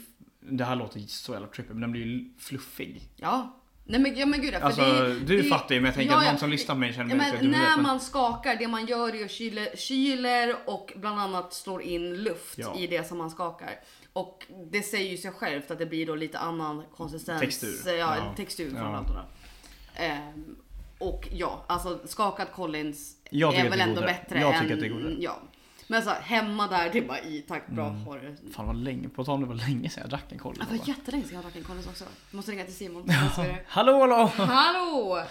det här låter ju så jävla trippy, men den blir ju fluffig.
Ja. Nej men, ja, men gud ja, för
Alltså,
det,
du
det,
fattar ju men jag tänker
Ja,
att
ja.
någon som lyssnar på mig känner
Ja,
mig lite
men
dum i huvudet,
när
men-
man skakar, det man gör är ju kyler, kyler och bland annat slår in luft
Ja.
i det som man skakar. Och det säger ju sig självt att det blir då lite annan konsistens.
Textur.
Ja,
Ja.
textur
Ja.
framförallt. då. Ehm, och ja, alltså skakad Collins
Jag tycker
är
att det
väl
är
ändå
godare.
bättre
Jag
än...
tycker att det är godare. Mm.
Ja. Men så här, hemma där, det är bara i, tack, bra, har du.
Fan vad länge, på tal om det var länge sedan jag drack en Collins.
Ja, Det var jättelänge sedan jag drack en Collins också. Jag måste ringa till Simon. Ja.
Hallå hallå!
Hallå!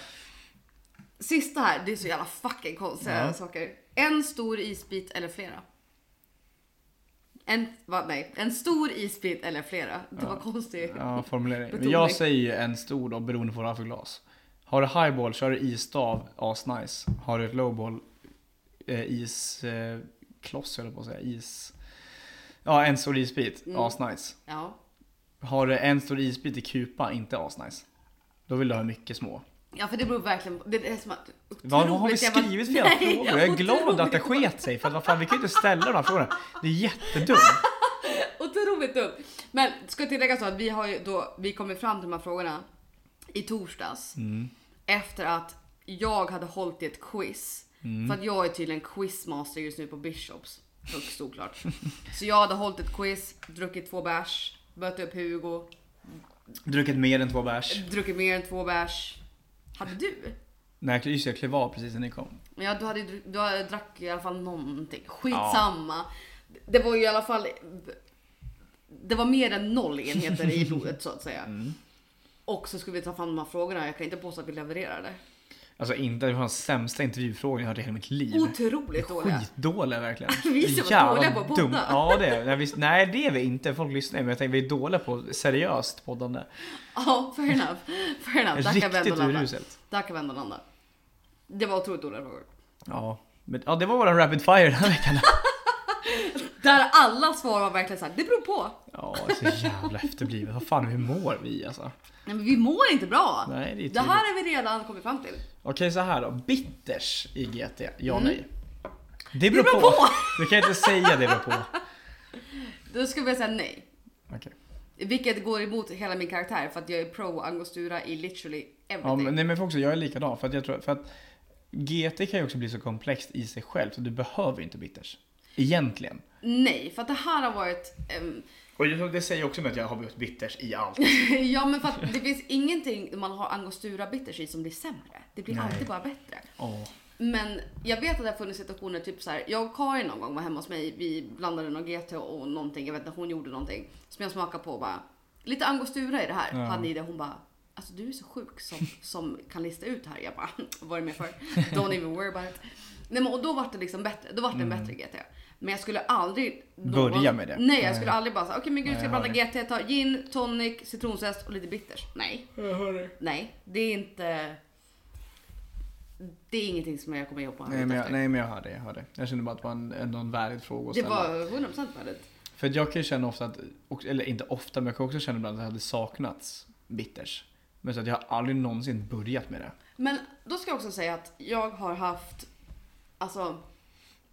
Sista här, det är så jävla fucking konstiga
Ja.
saker. En stor isbit eller flera? En, va, nej, en stor isbit eller flera. Det var konstigt.
Ja, formulering. Men
Betoning.
jag säger ju en stor då beroende på vad du har för glas. Har du highball kör du isstav, asnice. Har du ett lowball, eh, iskloss eh, kloss, höll jag på att säga, is... Ja, en stor isbit,
Mm.
asnice.
Ja.
Har du en stor isbit i kupa, inte asnice. Då vill du ha mycket små.
ja, för det beror verkligen på. Det är som att,
Vad vad har vi
otroligt jävla-
skrivit för jävla
Nej,
frågor? Jag är glad att det
otroligt-
sket sig för att vad fan, vi kan ju inte ställa de här frågorna. Det är jättedumt.
Otroligt dumt. Men ska tillägga så att vi har ju då, vi kom ju fram till de här frågorna i torsdags. Efter att jag hade hållit i ett quiz. För att jag är tydligen quizmaster just nu på Bishops. Högst oklart. så jag hade hållit ett quiz, druckit två bärs, bött upp Hugo,
Druckit mer än två bärs.
druckit mer än två bärs. Hade du?
Nej, just det, jag klev av precis när ni kom.
Men Ja, du, hade, ju druck- du hade- drack i alla fall någonting. Skitsamma. Det var ju i alla fall... Det var mer än noll enheter i blodet så att säga. Och så skulle vi ta fram de här frågorna. Jag kan inte påstå att vi levererade.
Alltså inte, det var den sämsta intervjufrågan jag hört i hela mitt liv.
Otroligt dåliga.
Skitdåliga verkligen.
Vi är så
Jävla
dåliga på att podda.
dum- Ja det är nej, vi. Nej det är vi inte, folk lyssnar ju, men jag tänker vi är dåliga på seriöst poddande.
Ja, fair enough. Fair enough. Där kan vi ändå
Riktigt
landa.
uruselt.
Där kan vi ändå landa. Det var otroligt dåliga frågor.
Ja. Men, ja det var våran rapid fire den här veckan.
Där alla svar var verkligen såhär, det beror på.
Ja så jävla efterblivet. Vad fan hur mår vi alltså?
Nej, men vi mår inte bra.
Nej, det är tydligt.
det här har vi redan kommit fram till.
Okej så här då, bitters i GT, ja nej. Det
Mm. beror på.
Du kan inte säga det beror på.
Då skulle jag säga nej.
Okej.
Vilket går emot hela min karaktär för att jag är pro angostura i literally
Ja,
everything.
men, nej men för också, jag är likadan. För att jag tror, för att GT kan ju också bli så komplext i sig själv så du behöver ju inte bitters. Egentligen.
Nej, för att det här har varit... ehm,
Och jag tror- det säger också med att jag har behövt bitters i allt.
ja men för att det finns ingenting man har angostura bitters i som blir sämre. Det blir
Nej.
alltid bara bättre.
Ja.
Men jag vet att det har funnits situationer, typ så här, jag och Karin någon gång var hemma hos mig, vi blandade någon GT och någonting, jag vet inte, hon gjorde någonting som jag smakade på och bara, lite angostura i det här,
Ja.
hade i det, hon bara, alltså du är så sjuk som, som kan lista ut här. Jag bara, vad är det med för? Don't even worry about it. Nej men och då var det liksom bättre, då var det en bättre GT. Men jag skulle aldrig...
Mm. Börja med det.
Nej, jag skulle
Nej.
aldrig bara säga okej men gud
Nej,
ska jag
jag
blanda GT, ta gin, tonic, citronzest och lite bitters. Nej.
Jag hör dig.
Nej, det är inte... Det är ingenting som jag kommer jobba
Nej
med
men,
efter.
jag, nej men jag hör det, jag hör det. Jag kände bara att det var en, ändå en värdig fråga att
Det
ställa.
var 100% värdigt.
För att jag kan ju känna ofta att, och- eller inte ofta men jag kan också känna ibland att det hade saknats bitters. Men så att jag har aldrig någonsin börjat med det.
Men då ska jag också säga att jag har haft, alltså,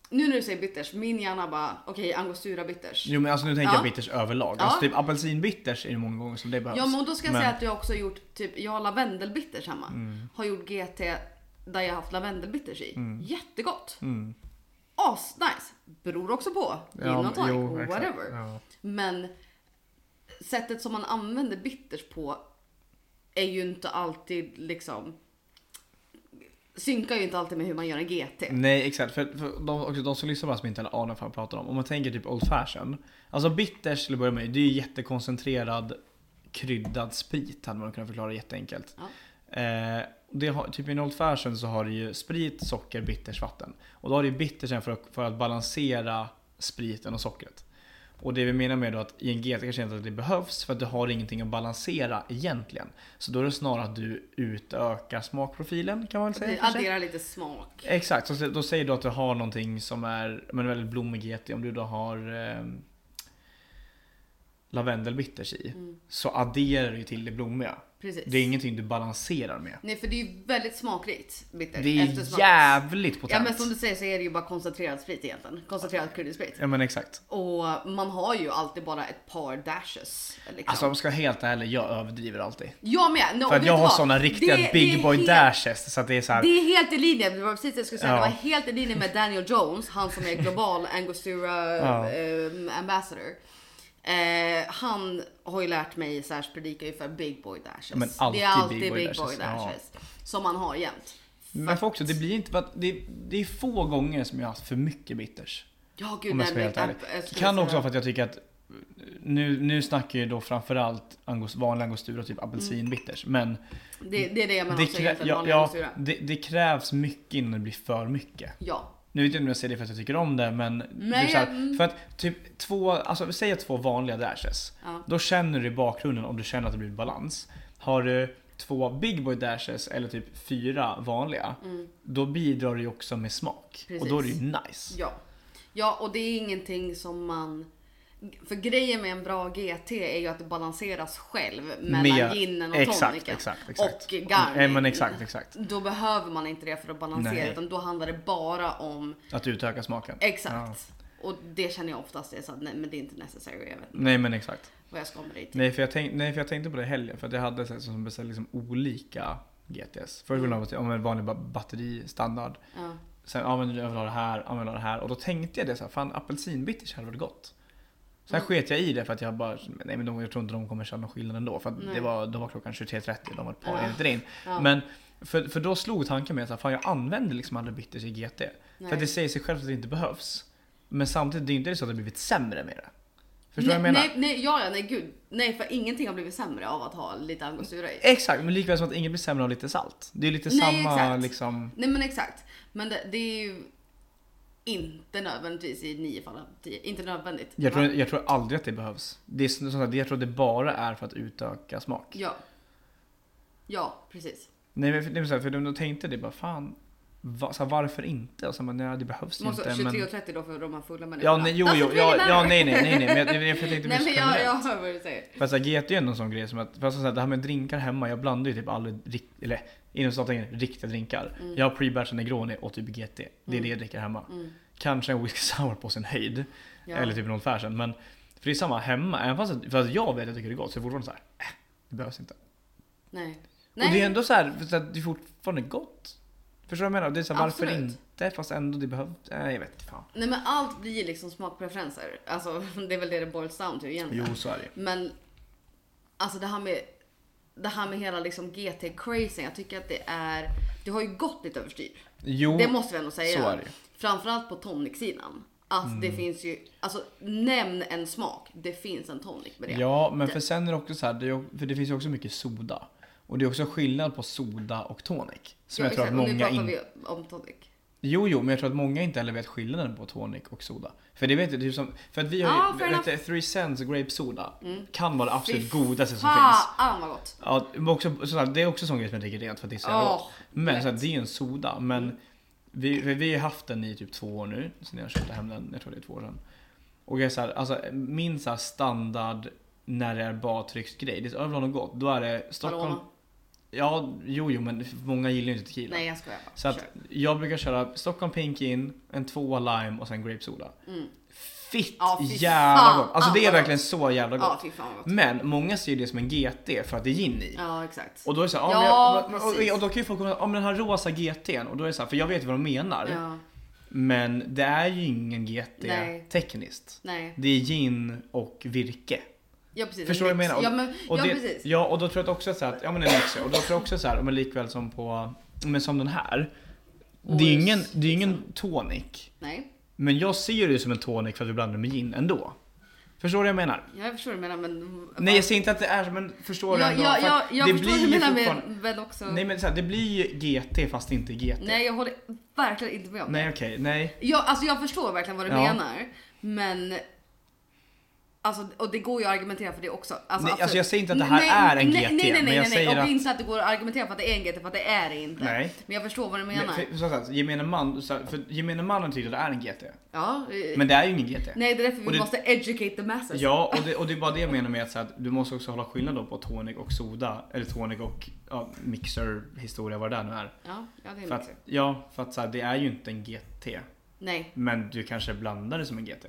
nu när du säger bitters, min hjärna bara, okej, angostura bitters.
Jo men alltså nu tänker
Ja.
jag bitters överlag.
Ja.
Alltså typ apelsinbitters är det många gånger som det behövs.
Ja men då ska jag
Men- Mm.
säga att jag också har gjort, typ, jag har lavendelbitters hemma. Har gjort GT där jag har haft lavendelbitters i. Jättegott!
Mm.
As, nice. Beror också på. Gin och tonic,
jo, exakt.
whatever.
Ja.
Men sättet som man använder bitters på är ju inte alltid liksom synkar ju inte alltid med hur man gör en GT.
Nej exakt, för, för de, också de som lyssnar på det här som inte har en aning om vad jag pratar om. Om man tänker typ Old Fashion. Alltså bitters till att börja med, det är ju jättekoncentrerad kryddad sprit hade man kunnat förklara jätteenkelt.
Ja.
Eh, det har, typ i en Old Fashion så har du ju sprit, socker, bitters, vatten. Och då har du ju bittersen för att, för att balansera spriten och sockret. Och det vi menar med då att i en GT kanske inte att det behövs för att du har ingenting att balansera egentligen. Så då är det snarare att du utökar smakprofilen kan man väl säga.
Det
kanske?
adderar lite smak.
Exakt, så då säger du att du har någonting som är men väldigt blommig GT. Om du då har eh, lavendelbitters i
Mm.
så adderar du ju till det blommiga.
Precis.
Det är ingenting du balanserar med.
Nej för det är ju väldigt smakrikt bitter.
Det är
eftersmak.
jävligt
Ja
potent.
men som du säger så är det ju bara koncentrerad sprit egentligen. Koncentrerad kryddig sprit.
exakt.
Och man har ju alltid bara ett par dashes. Liksom.
Alltså om jag ska vara helt ärlig, jag överdriver alltid.
jag med! No,
För
vet
att jag
du
har
vad?
såna riktiga
Det- det
big
är
boy
helt-
dashes så att det är så här.
Det är helt i linje, det var precis det jag skulle säga.
Ja.
Det var helt i linje med Daniel Jones, han som är global Angostura
Ja.
ehm, ambassador. Eh, han har ju lärt mig särskilt predika ju för big boy dashes.
Men alltid
det är alltid
big
big
boy
boy,
dashes, ja.
dashes. Som man har jämt.
Men för också, det blir inte för att det, det är få gånger som jag har haft för mycket bitters.
Ja gud,
Om jag ska vara
nej,
helt ärlig.
jag- jag skulle
Kan
säga-
också vara för att jag tycker att nu, nu snackar jag ju då framförallt angos, vanlig angostura, typ
Mm.
apelsinbitters. Men
det, det är det jag menar
det,
också
krä,
egentligen.
ja,
vanlig
ja,
Angostura.
det, det krävs mycket innan det blir för mycket.
ja.
Nu vet jag inte om jag säger det för att jag tycker om det men... det är
Nej,
så här,
mm.
för att typ två, alltså säg att två vanliga dashes.
Ja.
Då känner du i bakgrunden om du känner att det blir balans. Har du två big boy dashes eller typ fyra vanliga.
Mm.
Då bidrar du ju också med smak. Och då är det ju nice.
Ja. ja, och det är ingenting som man... För grejen med en bra GT är ju att det balanseras själv mellan
Med-
ginen och
exakt,
tonicen.
exakt, exakt.
Och garning.
Ja, men exakt, exakt.
Då behöver man inte det för att balansera
Nej.
utan då handlar det bara om
Att utöka smaken.
Eh. exakt. Och det känner jag oftast är så att nej men det är inte necessary. Jag vet inte
Nej men exakt.
vad jag ska med dig till.
Nej för jag, tänk, nej, för jag tänkte på det i helgen. För att jag hade så här, som beställde liksom olika GTS. Först
Mm.
ville jag ha om en vanlig ba- batteristandard.
Ja.
Sen, ja men jag vill ha det här, ja, men jag vill ha det här. Och då tänkte jag det så här, fan apelsinbitters hade varit gott. Sen
Mm.
sket jag i det för att jag bara, nej men de, jag tror inte de kommer känna någon skillnad ändå. För att
Nej.
det var, då var klockan 23.30, de var ett par
Ja.
enheter in.
Ja.
Men för, för då slog tanken mig att så här, fan jag använder liksom aldrig bitters i GT. För
Nej.
att det säger sig självt att det inte behövs. Men samtidigt, det är inte så att det har blivit sämre med det. Förstår du vad
nej,
jag menar?
nej, nej, ja, ja, nej gud. Nej, för ingenting har blivit sämre av att ha lite angostura i.
Exakt, men likväl som att inget blir sämre av lite salt. Det är lite
Nej,
samma
exakt.
liksom...
Nej men exakt. Men det, det är ju inte nödvändigtvis i nio fall av tio. Inte nödvändigt.
Jag tror,
Va?
jag tror aldrig att det behövs. Det är, sånt här, jag tror att det bara är för att utöka smak.
Ja. Ja, precis.
Nej men för, det är så här, för då tänkte det bara fan va, så här, varför inte? Och så bara, nej det behövs
Man måste
inte. Men...
23.30 då för de här fulla människorna. Alltså,
Ja nej jo
Doesn't
jo,
really
ja, ja
matter.
nej nej nej nej men jag, jag, jag tänkte
Nej
mest
men jag, jag hör vad du säger.
För så här, GT är ju ändå en sån grej som att, för så här, det här med drinkar hemma, jag blandar ju typ aldrig, rik, eller inom statningen, riktiga
Mm.
drinkar. Jag har pre-batchen Negroni och typ GT, det är det jag dricker hemma. Kanske en whisky sour på sin höjd,
Mm. Ja.
eller typ någon fashion. Men för det är samma hemma, även fast, att- fast jag vet att jag tycker det är gott så är det fortfarande så här, äh, det behövs inte.
Nej.
Och det är ändå så här, för att det är fortfarande gott. Förstår du vad jag menar? Det är så här, varför
Absolut.
inte? Fast ändå det behövs. Nej, jag vet inte fan.
Nej men allt blir liksom smakpreferenser. Alltså det är väl det det boils down till egentligen.
Jo, så är det ju.
Men alltså det här med det här med hela liksom GT-crazen. Jag tycker att det är, det har ju gått lite överstyr.
Jo,
Det måste vi ändå säga.
så är det ju. Mm.
Framförallt på tonic-sidan. Att det finns ju, alltså nämn en smak. Det finns en tonic med det.
Ja, men för sen är det också så här, det, är ju- för det finns ju också mycket soda. Och det är också skillnad på soda och tonic. Som jag tror att
exakt. Och nu
många
pratar
inte...
vi om tonic.
Jo, jo, men jag tror att många inte heller vet skillnaden på tonic och soda. För det vet jag, det är ju som, för att vi har
Ja,
ju,
fair
vet du, Three Cents grape soda kan vara det absolut
Mm. Fy
godaste som finns.
Fan vad gott.
Ja, men också, så här, det är också sån grej som jag dricker rent för att det är så jävla
Åh,
gott. Men
lätt.
så här, det är ju en soda. Men
Mm.
vi, vi, vi har haft den i typ två år nu, sen jag köpte hem den, jag tror det är två år sedan. Och jag är så här, alltså, min så här standard när det är badtrycksgrej, det är så, jag vill ha något gott. Då är det Stockholm.
Paloma.
Ja, jo, jo, men många gillar ju inte tequila.
Nej jag skojar bara.
Så att
Kör.
jag brukar köra Stockholm Pink in, en tvåa lime och sen grape soda. Fitt
Mm. Ja, fy fan.
jävla gott! Alltså det
Ah,
är
vad
verkligen så jävla gott.
Ja fy fan vad gott.
Men många ser ju det som en GT för att det är gin i.
Ja exakt.
Och då är det så här,
Ja,
ja, men, och,
precis.
och, och då kan ju folk komma och säga, ja, men den här rosa GT'n. Och då är det så här, för jag vet ju vad de menar.
Ja,
Men det är ju ingen GT
Nej.
tekniskt.
nej.
Det är gin och virke.
Ja precis.
Förstår du vad jag menar?
Ja, men,
Och
ja
det,
precis.
Ja, och då tror jag att också så här att, ja men en mixer. Och då tror jag också så här, men likväl som på, men som den här. Det är ju ingen, det är ju ingen tonic.
Nej.
Men jag ser det ju som en tonic för att vi blandar med gin ändå. Förstår du vad jag menar?
Jag förstår vad du menar men...
Nej jag ser inte att det är som en, förstår du
jag,
ändå?
jag,
För
jag,
att
jag
det
förstår vad
blir
du
ju
menar
fortfarande-
men, men också...
Nej
Nej,
men så här, det blir ju GT fast inte GT. Nej,
jag håller verkligen inte med om det.
okej, nej.
Jag, alltså jag förstår verkligen vad du
Ja.
menar. Men... Alltså, och det går ju att argumentera för det också. Alltså,
Nej,
absolut.
alltså jag säger inte att det här är en
nej,
GT,
Nej, nej, nej,
men
nej,
jag
nej.
säger
och det är
att-
inte så att det går att argumentera för att det är en GT, för att det är det inte.
Nej.
Men jag förstår vad du menar.
Men, för, så här, gemene man, så här, för gemene mannen tycker att det är en GT.
ja, eh,
Men det är ju ingen GT.
nej, det är därför vi
och det-
måste educate the masses.
Ja, och det, och det är bara det jag menar med att, så här, att du måste också hålla skillnad då på tonic och soda. Eller tonic och ja, mixer, historia, vad det där nu är.
ja, ja det är
För att,
mycket.
ja, för att så här, det är ju inte en GT.
Nej.
Men du kanske blandar det som en GT.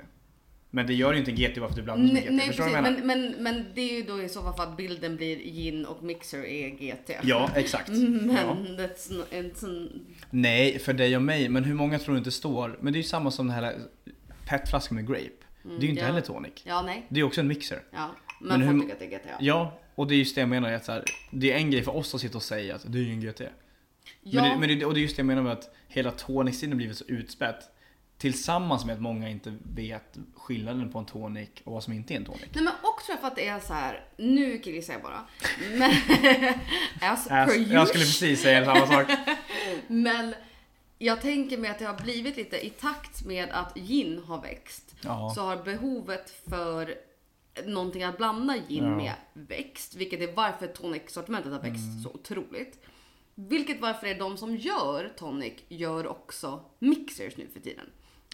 Men det gör ju inte en GT bara för att du blandar det som en
Nej, nej
GT. förstår du
precis,
vad jag menar?
men, men, men det är ju då i så fall för att bilden blir gin och mixer är GT.
Ja, exakt.
Mm, Men
Ja.
that's not, it's n-
Nej, för dig och mig. Men hur många tror du inte står? Men det är ju samma som den här petflaskan med grape. det är ju inte
mm, ja.
heller tonic.
Ja, nej.
Det är också en mixer.
Ja, men,
Men
folk
hur-
tycker att det är GT. Ja.
Ja, och det är just det jag menar. Att så här, det är en grej för oss att sitta och säga att det är ju en GT. Men det,
Ja.
men det, och det är just det jag menar med att hela tonic-sidan blivit så utspätt. Tillsammans med att många inte vet skillnaden på en tonic och vad som inte är en tonic.
Nej men också för att det är så här. nu killgissar jag bara. Men, as per
Ass-
usual.
jag skulle precis säga samma sak.
men jag tänker mig att det har blivit lite i takt med att gin har växt.
Ja.
Så har behovet för någonting att blanda gin
Ja.
med växt. Vilket är varför tonic-sortimentet har växt
Mm.
så otroligt. Vilket varför är de som gör tonic gör också mixers nu för tiden.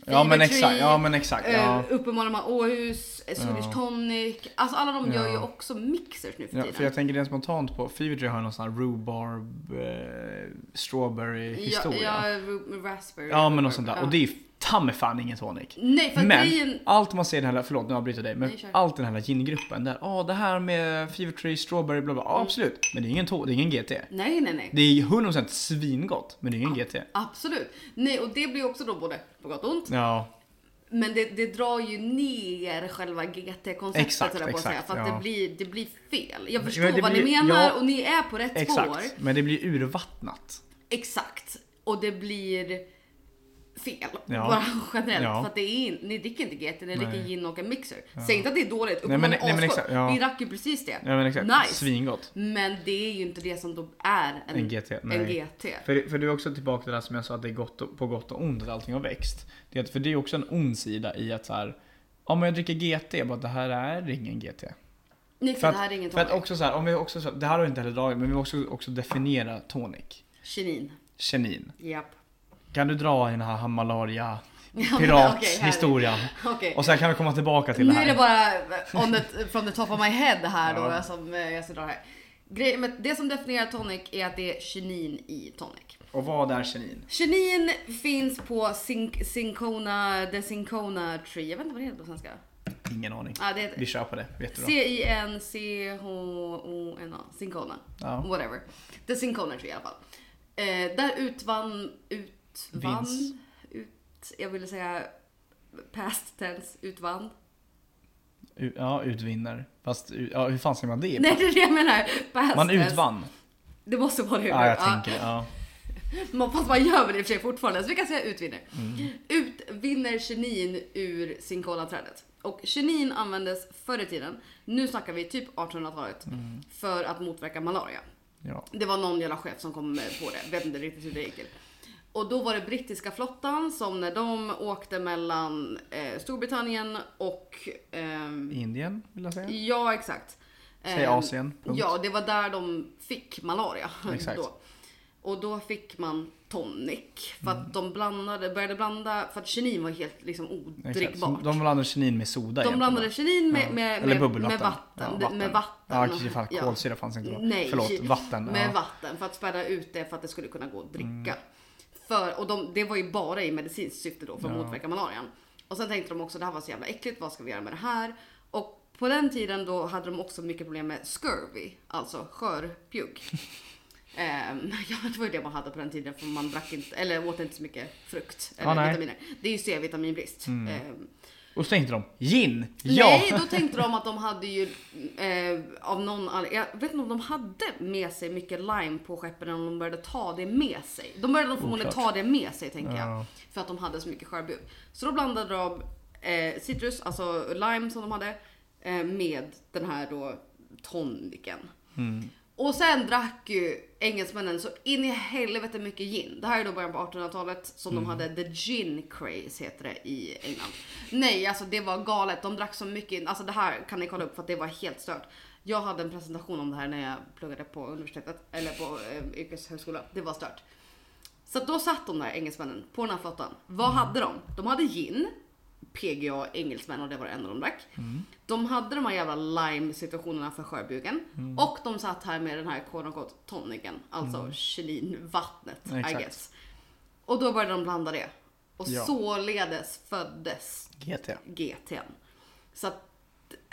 Ja men
Fever Eh,
exakt,
Tree,
ja men exakt.
Ja.
Ja.
Uppenbarligen man Åhus, eh, Swedish
Ja.
Tonic. Alltså alla de gör ju
Ja.
också mixers nu för
Ja,
tiden.
för jag tänker rent spontant på, Fevertree har ju någon sån här rhubarb, eh, strawberry historia.
Ja,
Ja,
ja, ru- raspberry.
men något sånt där.
Ja.
Och det är ju ta mig fan ingen tonic.
Nej för att
Men
grejen...
allt man ser i den här, förlåt nu avbryter jag dig, men
Nej, kör.
allt i den här gingruppen där, ja det här med Fevertree, strawberry, bla bla,
Mm.
ja absolut. Men det är ingen, to- det är ingen GT.
Nej nej nej.
Det är 100% svingott, men det är ingen GT.
Absolut. Nej och det blir också då både på gott och ont.
Ja,
Men det, det drar ju ner själva GT-konceptet
Exakt,
sådär på att säga.
exakt,
För att
ja.
det, blir, det blir fel. Jag
Men
förstår
det
vad ni
blir-
menar
ja,
och ni är på rätt spår.
exakt. Men det blir urvattnat.
Exakt. Och det blir fel.
Ja.
Bara generellt.
Ja.
För att det är, ni dricker inte GT, ni dricker
Nej.
gin och en mixer. Säg inte att det är dåligt, nej,
men- nej, men exakt, ja.
Vi drack ju precis det.
Ja men exakt,
Nice.
svingott.
Men det är ju inte det som då är en,
En GT,
En
nej.
GT.
För, för du är också tillbaka till det där som jag sa att det är gott och, på gott och ont att allting har växt. Det, är att- för det är också en ond sida i att så här, ja men jag dricker GT, bara det här är ingen GT.
Nej, för,
För att,
det här är ingen
för att
tonic.
också så här, om vi också, så- det här har vi inte heller dragit, men vi måste också definiera tonic.
Kinin.
Chenin.
Japp.
Kan du dra i den här Hamalaria
okej, här-
pirathistorian?
Okej.
och sen kan vi komma tillbaka till
Nu
det
är det
här.
bara eh, on the, from the top of my head här då
Ja.
som eh, jag ska dra här. Grejen med, det som definierar tonic är att det är kinin i tonic.
Och vad är chenin?
Chenin finns på Sin- Sincona, The Sincona Tree. Jag vet inte vad det heter på svenska.
Ingen aning.
Ah, det
Vi
heter
kör på det, jättebra.
C-I-N-C-H-O-N-A. Sincona.
Ja.
Whatever. The Sincona Tree i alla fall. Eh, där utvann... Utvann?
Vinns.
Ut, jag ville säga past tense. Utvann.
U- ja, utvinner. Fast u- ja, hur fan säger man det?
Nej alltså, det är det jag menar. Past
E- man
tense.
utvann.
Det måste vara det.
Ja, jag tänker ja.
Man- Fast man gör väl i och för sig fortfarande. Så vi kan säga utvinner.
Mm.
Utvinner kinin ur sinkolaträdet. Och kinin användes förr i tiden, nu snackar vi typ 1800-talet,
Mm.
för att motverka malaria.
ja.
Det var någon jävla chef som kom på det. Vet inte riktigt hur det gick till. Och då var det brittiska flottan som när de åkte mellan eh, Storbritannien och... ehm,
Indien vill jag säga.
ja, exakt.
Säg
Ehm,
Asien, punkt.
Ja, det var där de fick malaria.
Exakt.
Då. Och då fick man tonic. För att de blandade, började blanda, för att kinin var helt liksom
Exakt.
odrickbart.
Så De blandade kinin med soda
De
egentligen,
blandade
va?
kinin med,
Ja.
med,
Eller
med,
bubbelvatten.
med vatten.
Ja,
Med vatten.
Ja, kanske ifall
Ja.
kolsyra fanns inte då.
Nej.
Förlåt, vatten.
Med
ja.
vatten för att späda ut det för att det skulle kunna gå att dricka. För, och de, det var ju bara i medicinskt syfte då för att
Ja.
motverka malarian. Och sen tänkte de också det här var så jävla äckligt, vad ska vi göra med det här? Och på den tiden då hade de också mycket problem med scurvy, alltså skörpjugg. Ehm, ja, det var ju det man hade på den tiden för man drack inte, eller åt inte så mycket frukt eller
Ja, nej. Mm.
vitaminer. Det är ju C-vitaminbrist. Ehm,
Och så tänkte de, gin!
Nej,
Ja!
då tänkte de att de hade ju eh, av någon anledning, jag vet inte om de hade med sig mycket lime på skeppen eller om de började ta det med sig. De började nog förmodligen
Oklart.
ta det med sig tänker jag.
Ja.
För att de hade så mycket skörbjugg. Så då blandade de eh, citrus, alltså lime som de hade, eh, med den här då toniken. Och sen drack ju engelsmännen så in i helvete mycket gin. Det här är då början på 1800-talet som de hade the gin craze heter det i England. Nej, alltså det var galet. De drack så mycket. Alltså det här kan ni kolla upp för att det var helt stört. Jag hade en presentation om det här när jag pluggade på universitetet eller på eh, yrkeshögskola. Det var stört. Så att då satt de där engelsmännen på den här flottan. Vad
Mm.
hade de? De hade gin, PGA engelsmän och det var det enda de drack.
Mm.
De hade de här jävla lime situationerna för skörbjuggen.
Mm.
Och de satt här med den här quote unquote toniken, alltså kilinvattnet I
Exakt.
guess. Och då började de blanda det. Och
Ja.
således föddes
GT.
GTn. Så att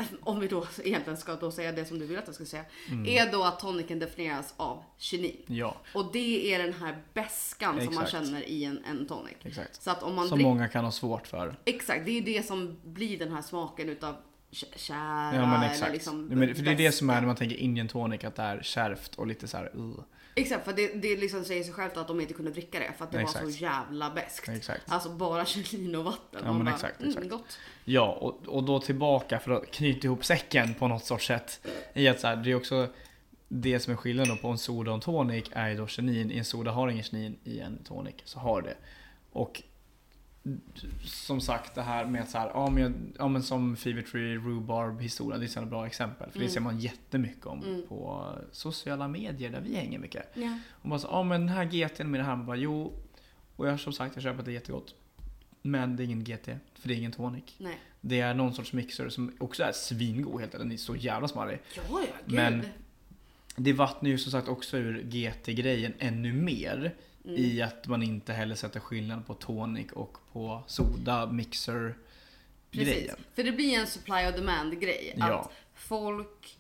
om vi då egentligen ska då säga det som du vill att jag ska säga.
Mm.
Är då att toniken definieras av kinin.
Ja,
Och det är den här beskan som man
Exakt.
känner i en, en tonic.
exakt.
Så att om man
Som
dricker...
många kan ha svårt för.
Exakt, det är ju det som blir den här smaken utav kä- kära
Ja men
eller
exakt.
liksom...
Nej, men, för det är det som är
beska.
när man tänker Indian tonic, att det är kärvt och lite så här. Uh.
Exakt, för det, det liksom säger sig självt att de inte kunde dricka det för att det var
Exakt.
så jävla beskt.
Exakt.
Alltså bara gelin och vatten.
Ja,
Man
men
bara,
exakt,
Mm,
exakt.
gott.
Ja, och, och då tillbaka för att knyta ihop säcken på något sorts sätt. I att så här, det är också det som är skillnaden då på en soda och en tonic är ju då kinin. I en soda har ingen kinin, i en tonic så har det. Och som sagt det här med att så här, ja, men, jag, ja, men som Fevertree, Rhubarb historia, det är sådana bra exempel. För det ser man jättemycket om på sociala medier där vi hänger mycket.
Ja.
Och bara så, ja men den här GT'n med det här. Man bara, jo. Och jag som sagt, jag köper att det är jättegott. Men det är ingen GT, för det är ingen tonic.
Nej.
Det är någon sorts mixer som också är svingod helt enkelt. Den är så jävla smarrig.
Ja, ja, gud.
Men- Det vattnar ju som sagt också ur GT-grejen ännu mer.
Mm.
I att man inte heller sätter skillnad på tonic och på soda mixer
Precis.
grejen.
För det blir en supply och demand grej. Att
Ja.
folk,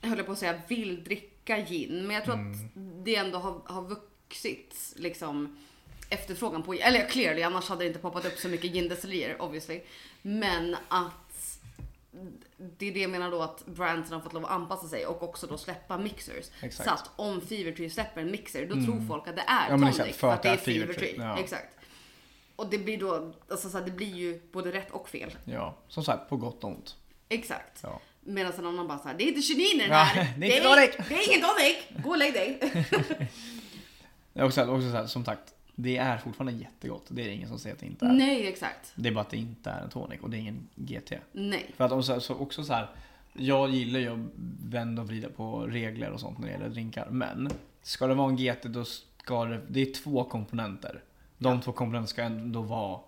jag höll på att säga, vill dricka gin. Men jag tror
Mm.
att det ändå har, har vuxit liksom efterfrågan på Eller clearly, annars hade det inte poppat upp så mycket gindestillerier obviously. Men att det är det jag menar då att brandsen har fått lov att anpassa sig och också då släppa mixers.
Exakt. Mm.
Så att om Fevertree släpper en mixer då tror folk att det är
Ja, men
tonic
exakt,
för att det är Fevertree.
ja.
Exakt. Och det blir då, alltså så här, det blir ju både rätt och fel.
Ja, som sagt på gott och ont.
Exakt.
Ja.
Medan en annan bara så här, det är inte kinin i den här.
Ja, det är inte tonic."
Det är ingen tonic. Gå och lägg dig.
Det är Också, också så här, som sagt, det är fortfarande jättegott. Det är ingen som säger att det inte är.
Nej, exakt.
Det är bara att det inte är en tonic och det är ingen GT.
Nej.
För att om så här, så också så här, jag gillar ju att vända och vrida på regler och sånt när det gäller drinkar. Men ska det vara en GT då ska det, det är två komponenter. De två komponenterna ska ändå vara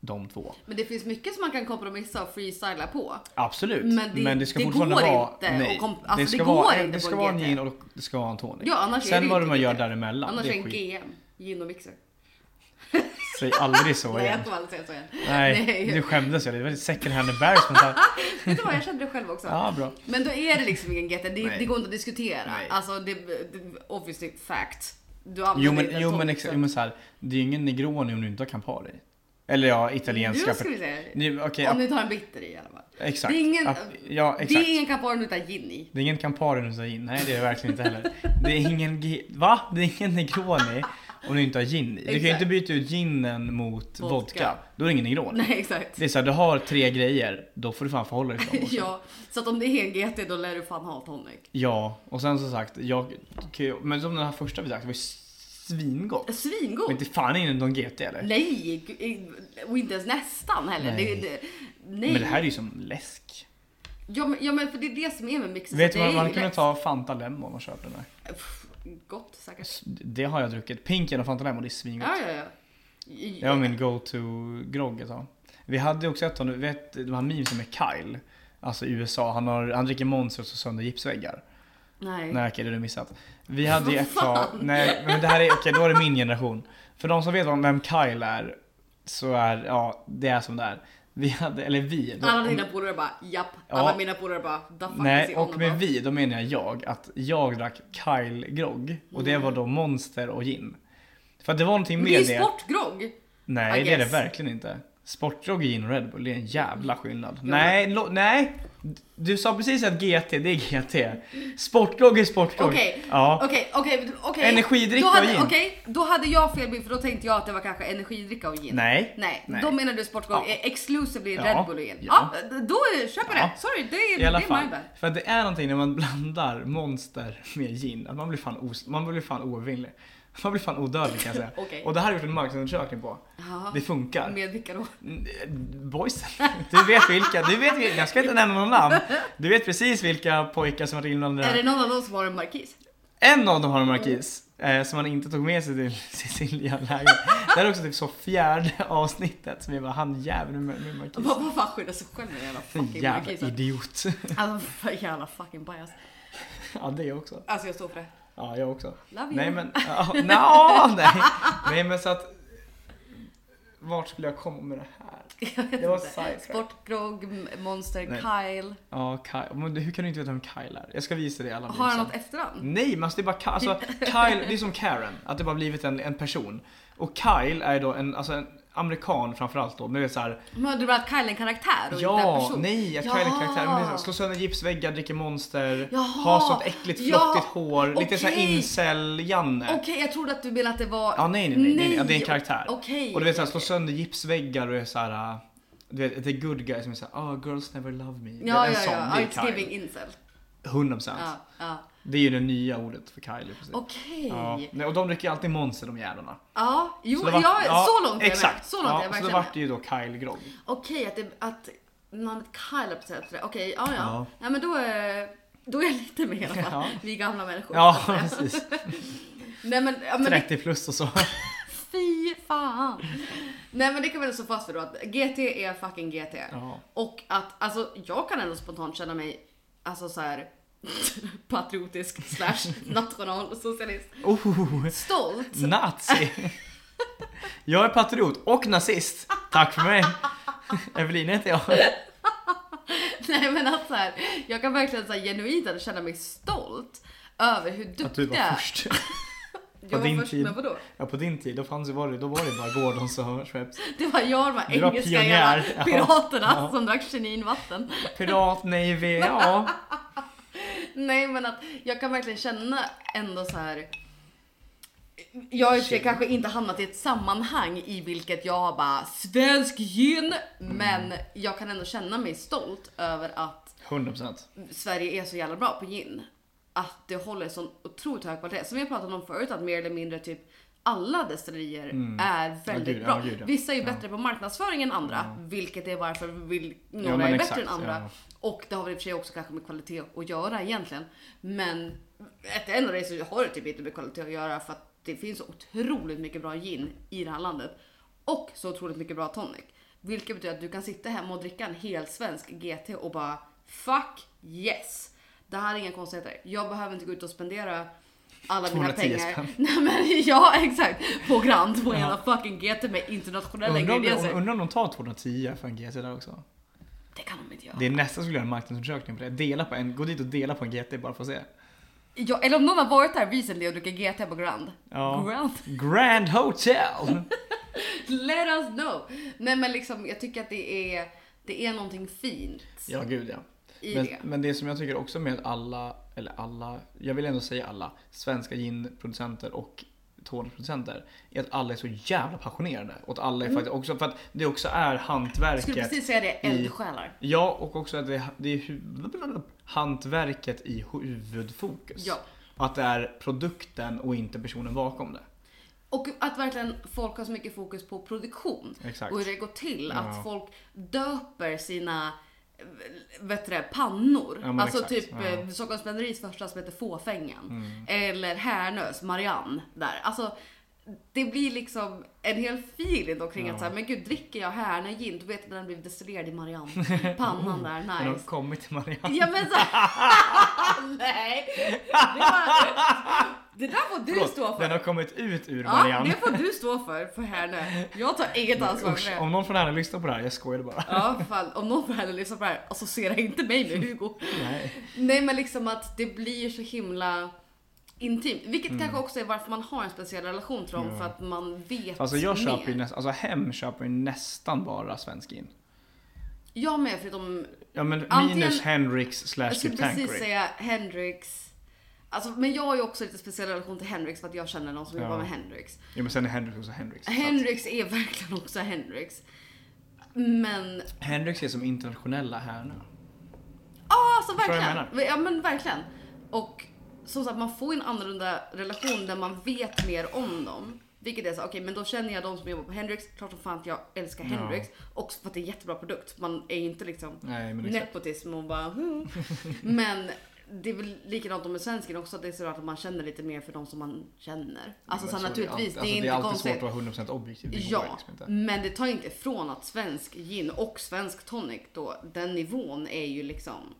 de två.
Men det finns mycket som man kan kompromissa och freestyla på.
Absolut.
Men det- det går inte att komp- alltså, det
det ska
går
vara,
inte
det
på
ska
en
vara en
GT.
gin och det ska vara en tonic.
Ja, annars är
Sen
det
vad
inte
man gör
GT.
däremellan,
Annars
det
är
är
en
skit.
GM. Gin och mixer.
Säg aldrig så
Nej,
igen.
jag kommer aldrig säga så igen.
Nej,
Nej.
nu skämdes jag. Det var ett second hand embarrassment. här.
Vet du vad, jag kände det själv också.
Ja, bra.
Men då är det liksom ingen GT. Det,
Nej.
det går inte att diskutera.
Nej.
Alltså, det, det obviously fact. Du
Jo
använder
men,
inte en
jo,
tonic,
men,
så-
exa, jo, men så här, det är ju ingen Negroni om du inte har Campari. Eller ja, italienska.
Nu ska vi se.
Nu, okej,
Om
ja,
ni tar en bitter i alla fall.
exakt.
Det är ingen-
Att, ja,
Det
exakt.
är ingen Campari utan gin i.
Det är ingen Campari du tar in. Nej, det är det verkligen inte heller. Det är ingen... ge- Va? Det är ingen Negroni om du inte har gin i. Du kan ju inte
Exakt.
byta ut ginen mot vodka.
Vodka.
Då är det ingen Negroni.
Nej, exakt.
Det är såhär, du har tre grejer, då får du fan förhålla dig till dem också.
Ja, så att om det är en GT då lär du fan ha tonic.
Ja, och sen som sagt, jag, kan ju- men som den här första vi drack, det var ju svingott.
Svingod!
Men inte fan är det någon GT eller?
Nej, gud, och inte ens nästan heller.
Nej.
Nej. Det, det, nej.
Men det här är ju som läsk.
ja, men, ja, men för det är det som är med mixen.
Vet du
det
vad
är
man
ju
kunde
lätt.
ta Fanta Lemon och köpa den där?
Pff, Gott säkert.
Det har jag druckit. Pinken och Fanta Lemon, det är svingott.
Ja, ja, ja.
Det var min go-to-grogg ett tag. Vi hade ju också ett av de- vet de här memesen med Kyle? Alltså i USA, han, har, han dricker Monster och så sönder gipsväggar.
Nej.
Nej okej, det har du missat. Vi hade ju ett tag, nej men det här är, okej då är det min generation. För de som vet om vem Kyle är, så är, ja det är som det är. Vi hade, eller vi. då-
Alla dina polare bara japp. Alla mina polare bara da fuck is
nej,
he
och
on
med
about?
vi, då menar jag jag, att jag drack Kyle-grogg. Och det var då Monster och gin. För att det var någonting
Mm. Men
med
det är ju sportgrogg.
Nej,
I
det är det
guess.
verkligen inte. Sportdrog gin och Red Bull, det är en jävla skillnad.
men-
Nej, lo, nej! Du sa precis att GT, det är GT. Sportdrog är sportdrog.
Okej,
Ja.
okej, okej, okej.
Energidricka
Då hade-
och gin.
Okej, då hade jag fel bild för då tänkte jag att det var kanske energidricka och gin.
Nej.
Nej,
Nej.
då menar du sportgång
Ja.
ja. exclusively
Ja.
Red Bull och gin.
Ja.
Ja. då är- köper jag
Ja.
det. Sorry, det är,
I alla
det är
fall.
my bad.
För att det är någonting när man blandar monster med gin, att man blir fan, os- man blir fan oövervinnlig. Man blir fan odödlig kan jag säga.
Okej.
Och det här har jag gjort en marknadsundersökning på.
Jaha.
Det funkar.
Med vilka då?
Mm, Boysen. Du vet vilka, du vet vilka, jag ska inte nämna någon namn. Du vet precis vilka pojkar som var inblandade i
Är det någon av dem som har en markis?
En av dem har en markis eh, som han inte tog med sig till Cecilia lägenhet. Det här är också typ så fjärde avsnittet som vi bara, han jäveln med, med markis.
Vad vad fan skyddar sig själv med den jävla fucking
Jävla
markisen?
idiot.
Alltså vad jävla fucking bias.
Ja det jag också.
Alltså jag står för det.
Ja jag också.
Love you.
Nej men, ja, no, nej. nej men så att. Vart skulle jag komma med det här? Det var sidetrack.
Sportgrogg, Monster,
Nej.
Kyle.
Ja, Kyle. Men hur kan du inte veta vem Kyle är? Jag ska visa dig alla
Har han
memesen.
något efternamn?
Nej, men alltså det är bara Ka- alltså, Kyle, det är som Karen, att det bara blivit en, en person. Och Kyle är då en, alltså en amerikan framförallt då, men det är såhär,
Men du menar att Kyle är en karaktär och Alltså, inte en person?
ja, nej, att
Ja.
Kyle är en karaktär, men det är såhär, slå sönder gipsväggar, dricker monster,
Jaha.
har sånt äckligt
Ja,
flottigt hår, lite såhär
okej.
incel-Janne.
Okej, jag trodde att du menade att det var...
Ja, nej, nej, nej, nej, nej, ja, det är en karaktär.
Okej.
Och du vet såhär, slå sönder gipsväggar och är såhär, äh, du vet, the good guy som är såhär, oh girls never love me. Det är
Ja,
en
ja,
sån,
ja.
det
It's
är
giving
Kyle.
incel.
100%.
Ja, ja.
Det är ju det nya ordet för Kyle. i princip.
Okej.
Ja. Nej, och de dricker alltid monster de jävlarna.
Ja, jo,
Så
så,
det vart-
ja,
ja,
så långt är jag
exakt.
med. Så långt är jag
ja, Så
verkligen
då
med.
vart det ju då Kyle Grogg.
Okej, att, det- att namnet Kyle på sätt Okej, ja, ja.
Ja.
Ja, men då är, då är jag lite med i alla fall.
Ja.
Vi gamla människor.
Ja, precis.
Nej, men, ja, men det,
30 plus och så.
fy fan. Nej, men det kan väl så fast för då att GT är fucking GT.
Ja.
Och att, alltså jag kan ändå spontant känna mig, alltså så här patriotisk slash nationalsocialist.
Oh,
Stolt.
nazi. Jag är patriot och nazist. Tack för mig. Evelina heter jag.
Nej men att så här, jag kan verkligen så här, genuint att känna mig stolt över hur duktiga...
Att du var först.
Jag var
din
först
tid.
med vadå?
Ja, på din tid, då fanns det, var det, då var det bara Gordons och Schweppes.
Det var jag och de här
Du var
engelska
pionjär. Ja.
jävla piraterna
Ja.
som drack kininvatten.
Pirat, Navy, ja.
Nej men att jag kan verkligen känna ändå så här. Jag har i och för sig
Shit.
kanske inte hamnat i ett sammanhang i vilket jag bara svensk gin.
Mm.
Men jag kan ändå känna mig stolt över att
100%.
Sverige är så jävla bra på gin. Att det håller sån otroligt hög kvalitet. Som vi har pratat om förut att mer eller mindre typ alla destillerier är väldigt
gud, Mm. ja,
bra.
gud, ja.
Vissa är ju bättre på marknadsföring än andra. Vilket är varför vill, några
men
är
exakt,
bättre än andra.
ja.
Och det har väl i och för sig också kanske med kvalitet att göra egentligen. Men ett enda race så har det typ inte med kvalitet att göra för att det finns så otroligt mycket bra gin i det här landet. Och så otroligt mycket bra tonic. Vilket betyder att du kan sitta hemma och dricka en hel svensk GT och bara fuck yes. Det här är inga konstigheter. Jag behöver inte gå ut och spendera alla mina
210
pengar.
spänn.
Nej men ja exakt. På Grand på hela fucking GT med internationella
Undrar om, de,
ingredienser.
undrar om de tar 210 för en GT där också.
Det kan de inte göra.
Det är nästan skulle göra en marknadsundersökning på det. Dela på en, gå dit och dela på en GT bara för att se.
Ja, eller om någon har varit där recently och druckit GT på Grand.
Ja.
Grand.
Grand Hotel!
Let us know. Nej men liksom, jag tycker att det är, det är någonting fint
Ja, gud ja.
i
Men,
det.
men det som jag tycker också med alla, eller alla, jag vill ändå säga alla, svenska ginproducenter och tonic-producenter är att alla är så jävla passionerade. Och att alla är faktiskt också, för att det också är
Jag Mm. skulle
hantverket.
precis säga det, eldsjälar.
Ja, och också att det är, det är hu- hantverket i huvudfokus.
Ja.
Att det är produkten och inte personen bakom det.
Och att verkligen folk har så mycket fokus på produktion.
Exakt.
Och hur det går till.
Ja.
Att folk döper sina eh, vet du det, pannor.
Ja, men
alltså
exakt.
typ
Ja. Mm.
ja. Stockholms Blenderis första som heter Fåfängan. Eller Härnös, Marianne där. Alltså det blir liksom en hel feeling då kring
Ja.
att så här, men gud dricker jag Härnö gin då vet jag att den har blivit destillerad i Marianne. Pannan där,
Men
nice.
de har kommit till Marianne.
Ja men så Nej! Det, var... det där får du
Förlåt,
stå för.
Den har kommit ut ur
Ja,
Marianne.
det får du stå för, för här nu. Jag tar eget ansvar för
Usch,
det.
om någon från henne lyssnar på det här, jag skojade bara.
Ja, fan. Om någon får henne lyssna på det här, associera inte mig med Hugo.
Nej.
Nej, men liksom att det blir så himla intimt. Vilket kanske också är varför man har en speciell relation till dem,
Mm. Ja.
för att man vet
Alltså jag
mer.
köper ju nästan, alltså hem köper ju nästan bara svensk in.
Jag med, förutom...
Ja men
Antingen-
minus Henriks slash
Jag skulle
typ
precis
Tanqueray.
säga Hendrix. Alltså, men jag har ju också lite speciell relation till Hendrix för att jag känner någon som
Ja.
jobbar med Hendrix.
Ja men sen är Henrik också Henriks. Henrik...
Hendrix är verkligen också Hendrix. Men
Henriks är som internationella härnor.
Ja, alltså
Förstår du vad jag
verkligen. Ja, men verkligen. Och som sagt, man får en annorlunda relation där man vet mer om dem. Vilket är så, okej men då känner jag de som jobbar på Hendrix, klart som fan att jag älskar
Ja.
Hendrix. Också för att det är en jättebra produkt. Man är ju inte liksom
Nej men exakt.
nepotism och bara "Hm." Men det är väl likadant om med svensken också, att det är så att man känner lite mer för de som man känner. Alltså
Men
så
så är
naturligtvis, det är,
alltid-
inte
alltid
konstigt.
svårt att vara 100% objektiv. Det
Ja,
går liksom inte.
men det tar inte ifrån att svensk gin och svensk tonic då, den nivån är ju liksom,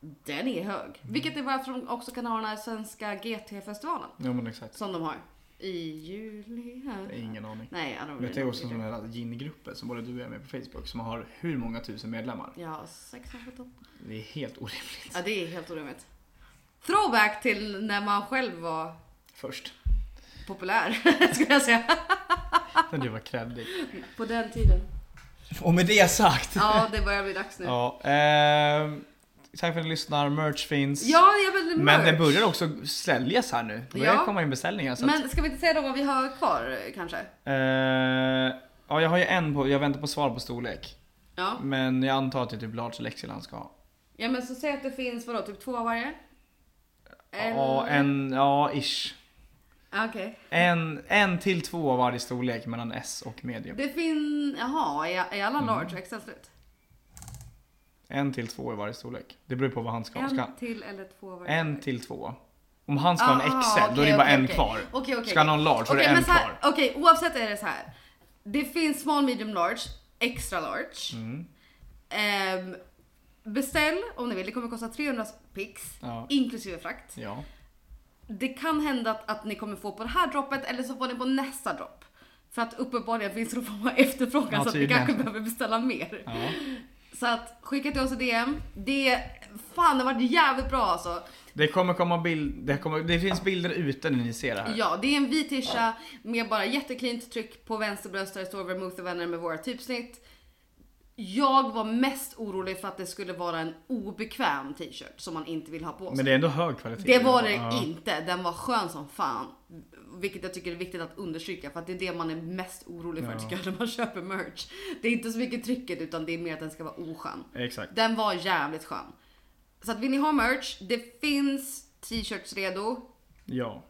den är hög.
Mm.
Vilket är varför de också kan ha den här svenska GT-festivalen.
Ja men exakt.
Som de har. I juli här.
Ingen aning.
Nej, I don't
Men det är också som
really
den
know.
här gin-gruppen som både du och jag är med på Facebook som har hur många tusen medlemmar.
Ja, 617.
Det är helt orimligt.
Ja, det är helt orimligt. Throwback till när man själv var
Först.
populär, skulle jag säga.
När du var kreddig.
På den tiden.
Och med det sagt.
Ja, det börjar bli dags nu.
Ja, ehm, tack för att ni lyssnar. Merch finns.
Ja, jag vill
Men den
merch.
börjar också säljas här nu. Det börjar
Ja.
komma in beställningar. Så att,
Men ska vi inte säga då vad vi har kvar kanske?
eh, ja, jag har ju en på, jag väntar på svar på storlek.
Ja.
Men jag antar att det är typ Large och Lexiland ska ha.
ja men så säg att det finns vadå, typ två av varje?
Ja, en, ja ish.
Ja, Ah, Okej.
En, en till två av varje storlek mellan S och medium.
Det finns, jaha, är, är
Mm.
alla large och XL slut?
En till två i varje storlek. Det beror på vad han ska ha. Ska,
En till eller två av varje?
en till två. Om han ska ha en
Ah,
XL, då är
okej,
det bara
okej,
en
okej.
kvar.
Okej, okej.
Ska han ha en large så är
Okej,
det en
men så här-
kvar.
Okej, oavsett är det så här. Det finns small, medium, large, extra large.
Mm.
Ehm, beställ om ni vill, det kommer kosta 300 pix.
Ja.
Inklusive frakt.
Ja.
Det kan hända att, att ni kommer få på det här droppet eller så får ni på nästa dropp. För att uppenbarligen finns det någon form av efterfrågan
Ja,
så att vi
tydligen.
kanske behöver beställa mer.
ja.
Så att skicka till oss ett DM. Det, fan det har varit jävligt bra alltså.
Det kommer komma bild, det, kommer, det finns bilder ute när ni ser det här.
Ja, det är en vit tisha med bara jätteklint tryck på vänster bröst där det står Vermouth och vänner med våra typsnitt. Jag var mest orolig för att det skulle vara en obekväm t-shirt som man inte vill ha på sig.
Men det är ändå hög kvalitet.
Det var det
Typ. Ja.
inte. Den var skön som fan. Vilket jag tycker är viktigt att understryka för att det är det man är mest orolig för
Ja.
tycker jag när man köper merch. Det är inte så mycket trycket utan det är mer att den ska vara oskön.
Exakt.
Den var jävligt skön. Så att vill ni ha merch, det finns t-shirts redo.
Ja.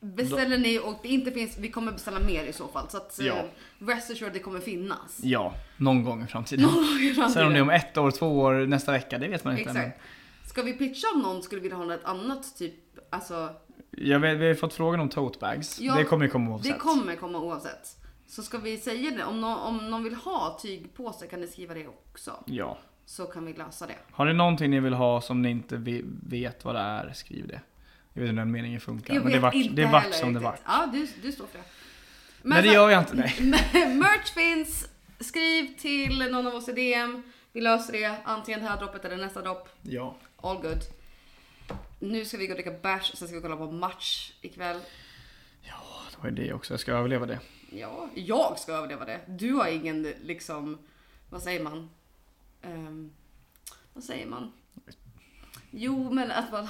Beställer ni och det inte finns, vi kommer beställa mer i så fall. Så att eh,
Ja.
rest assured det kommer finnas.
Ja, någon gång i framtiden.
I
Sen om det är
framtiden.
om ett år, två år, nästa vecka, det vet man inte.
Exakt. Ska vi pitcha om någon skulle vilja ha något annat typ, alltså
Men jag vet, vi har ju fått frågan om tote bags.
Ja,
det kommer ju komma oavsett.
Det kommer komma oavsett. Så ska vi säga det, om någon, om någon vill ha tygpåse kan ni skriva det också.
Ja.
Så kan vi lösa det.
Har ni någonting ni vill ha som ni inte ve- vet vad det är, skriv det. Jag vet inte hur den meningen funkar.
Jag
men det
vet
vart,
inte
det vart
heller
som det vart.
riktigt. Ja, du, du står för det.
Nej det
så-
gör jag inte, nej.
merch finns, skriv till någon av oss i DM. Vi löser det, antingen det här droppet eller nästa dropp.
Ja.
All good. Nu ska vi gå och dricka bärs, sen ska vi kolla på match ikväll.
Ja, det var på idé också. Jag ska överleva det.
Ja, jag ska överleva det. Du har ingen liksom, vad säger man? Ehm, vad säger man? Jo, men att man,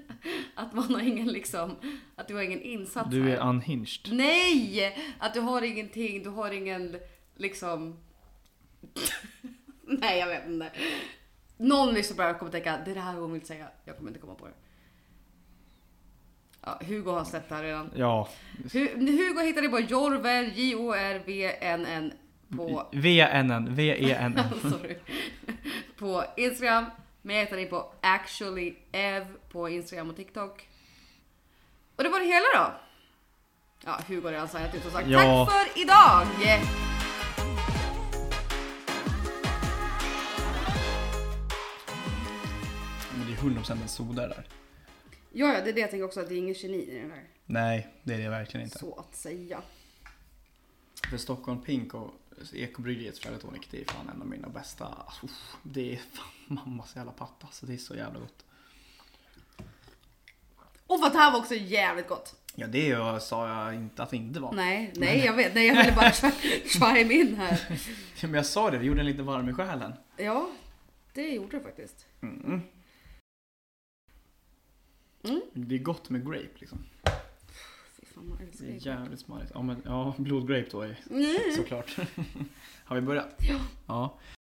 att man har ingen liksom, att du har ingen insats
Du
här.
är unhinged.
Nej! Att du har ingenting, du har ingen liksom... Nej, jag vet inte. Någon lyssnar på det här och kommer tänka, det är det här hon vill säga. Jag kommer inte komma på det. Ja, Hugo har släppt det här redan.
Ja.
Hu- Hugo hittade på Jorven, J-O-R-V-N-N på,
V-E-N-N. V-E-N-N.
sorry, på Instagram. Men jag hittade på Actually Ev på Instagram och TikTok. Och det var det hela då. Ja, Hugo har redan signat ut som sagt.
Ja.
Tack för idag!
Men det är 100% en soda det där.
Ja, ja, det är det jag tänker också, att det är ingen geni i den här.
Nej, det är det verkligen inte.
Så att säga.
För Stockholm Pink och Ekobryggeriets Fred Tonic, det är fan en av mina bästa. Alltså, uff, det är fan mammas jävla patta. Alltså, det är så jävla gott.
Och för att det här var också jävligt gott.
Ja, det jag, sa jag inte att det inte var.
Nej, nej, jag vet. Nej, jag ville bara chime in här.
Men jag sa det, vi gjorde en lite varm i själen.
Ja, det gjorde det faktiskt.
Mm.
Mm.
Det är gott med grape liksom.
Fy fan, man älskar
Det är
ju.
jävligt smarrigt. Ja, men, ja blodgrape då är
Mm.
såklart. Har vi börjat?
Ja.
ja.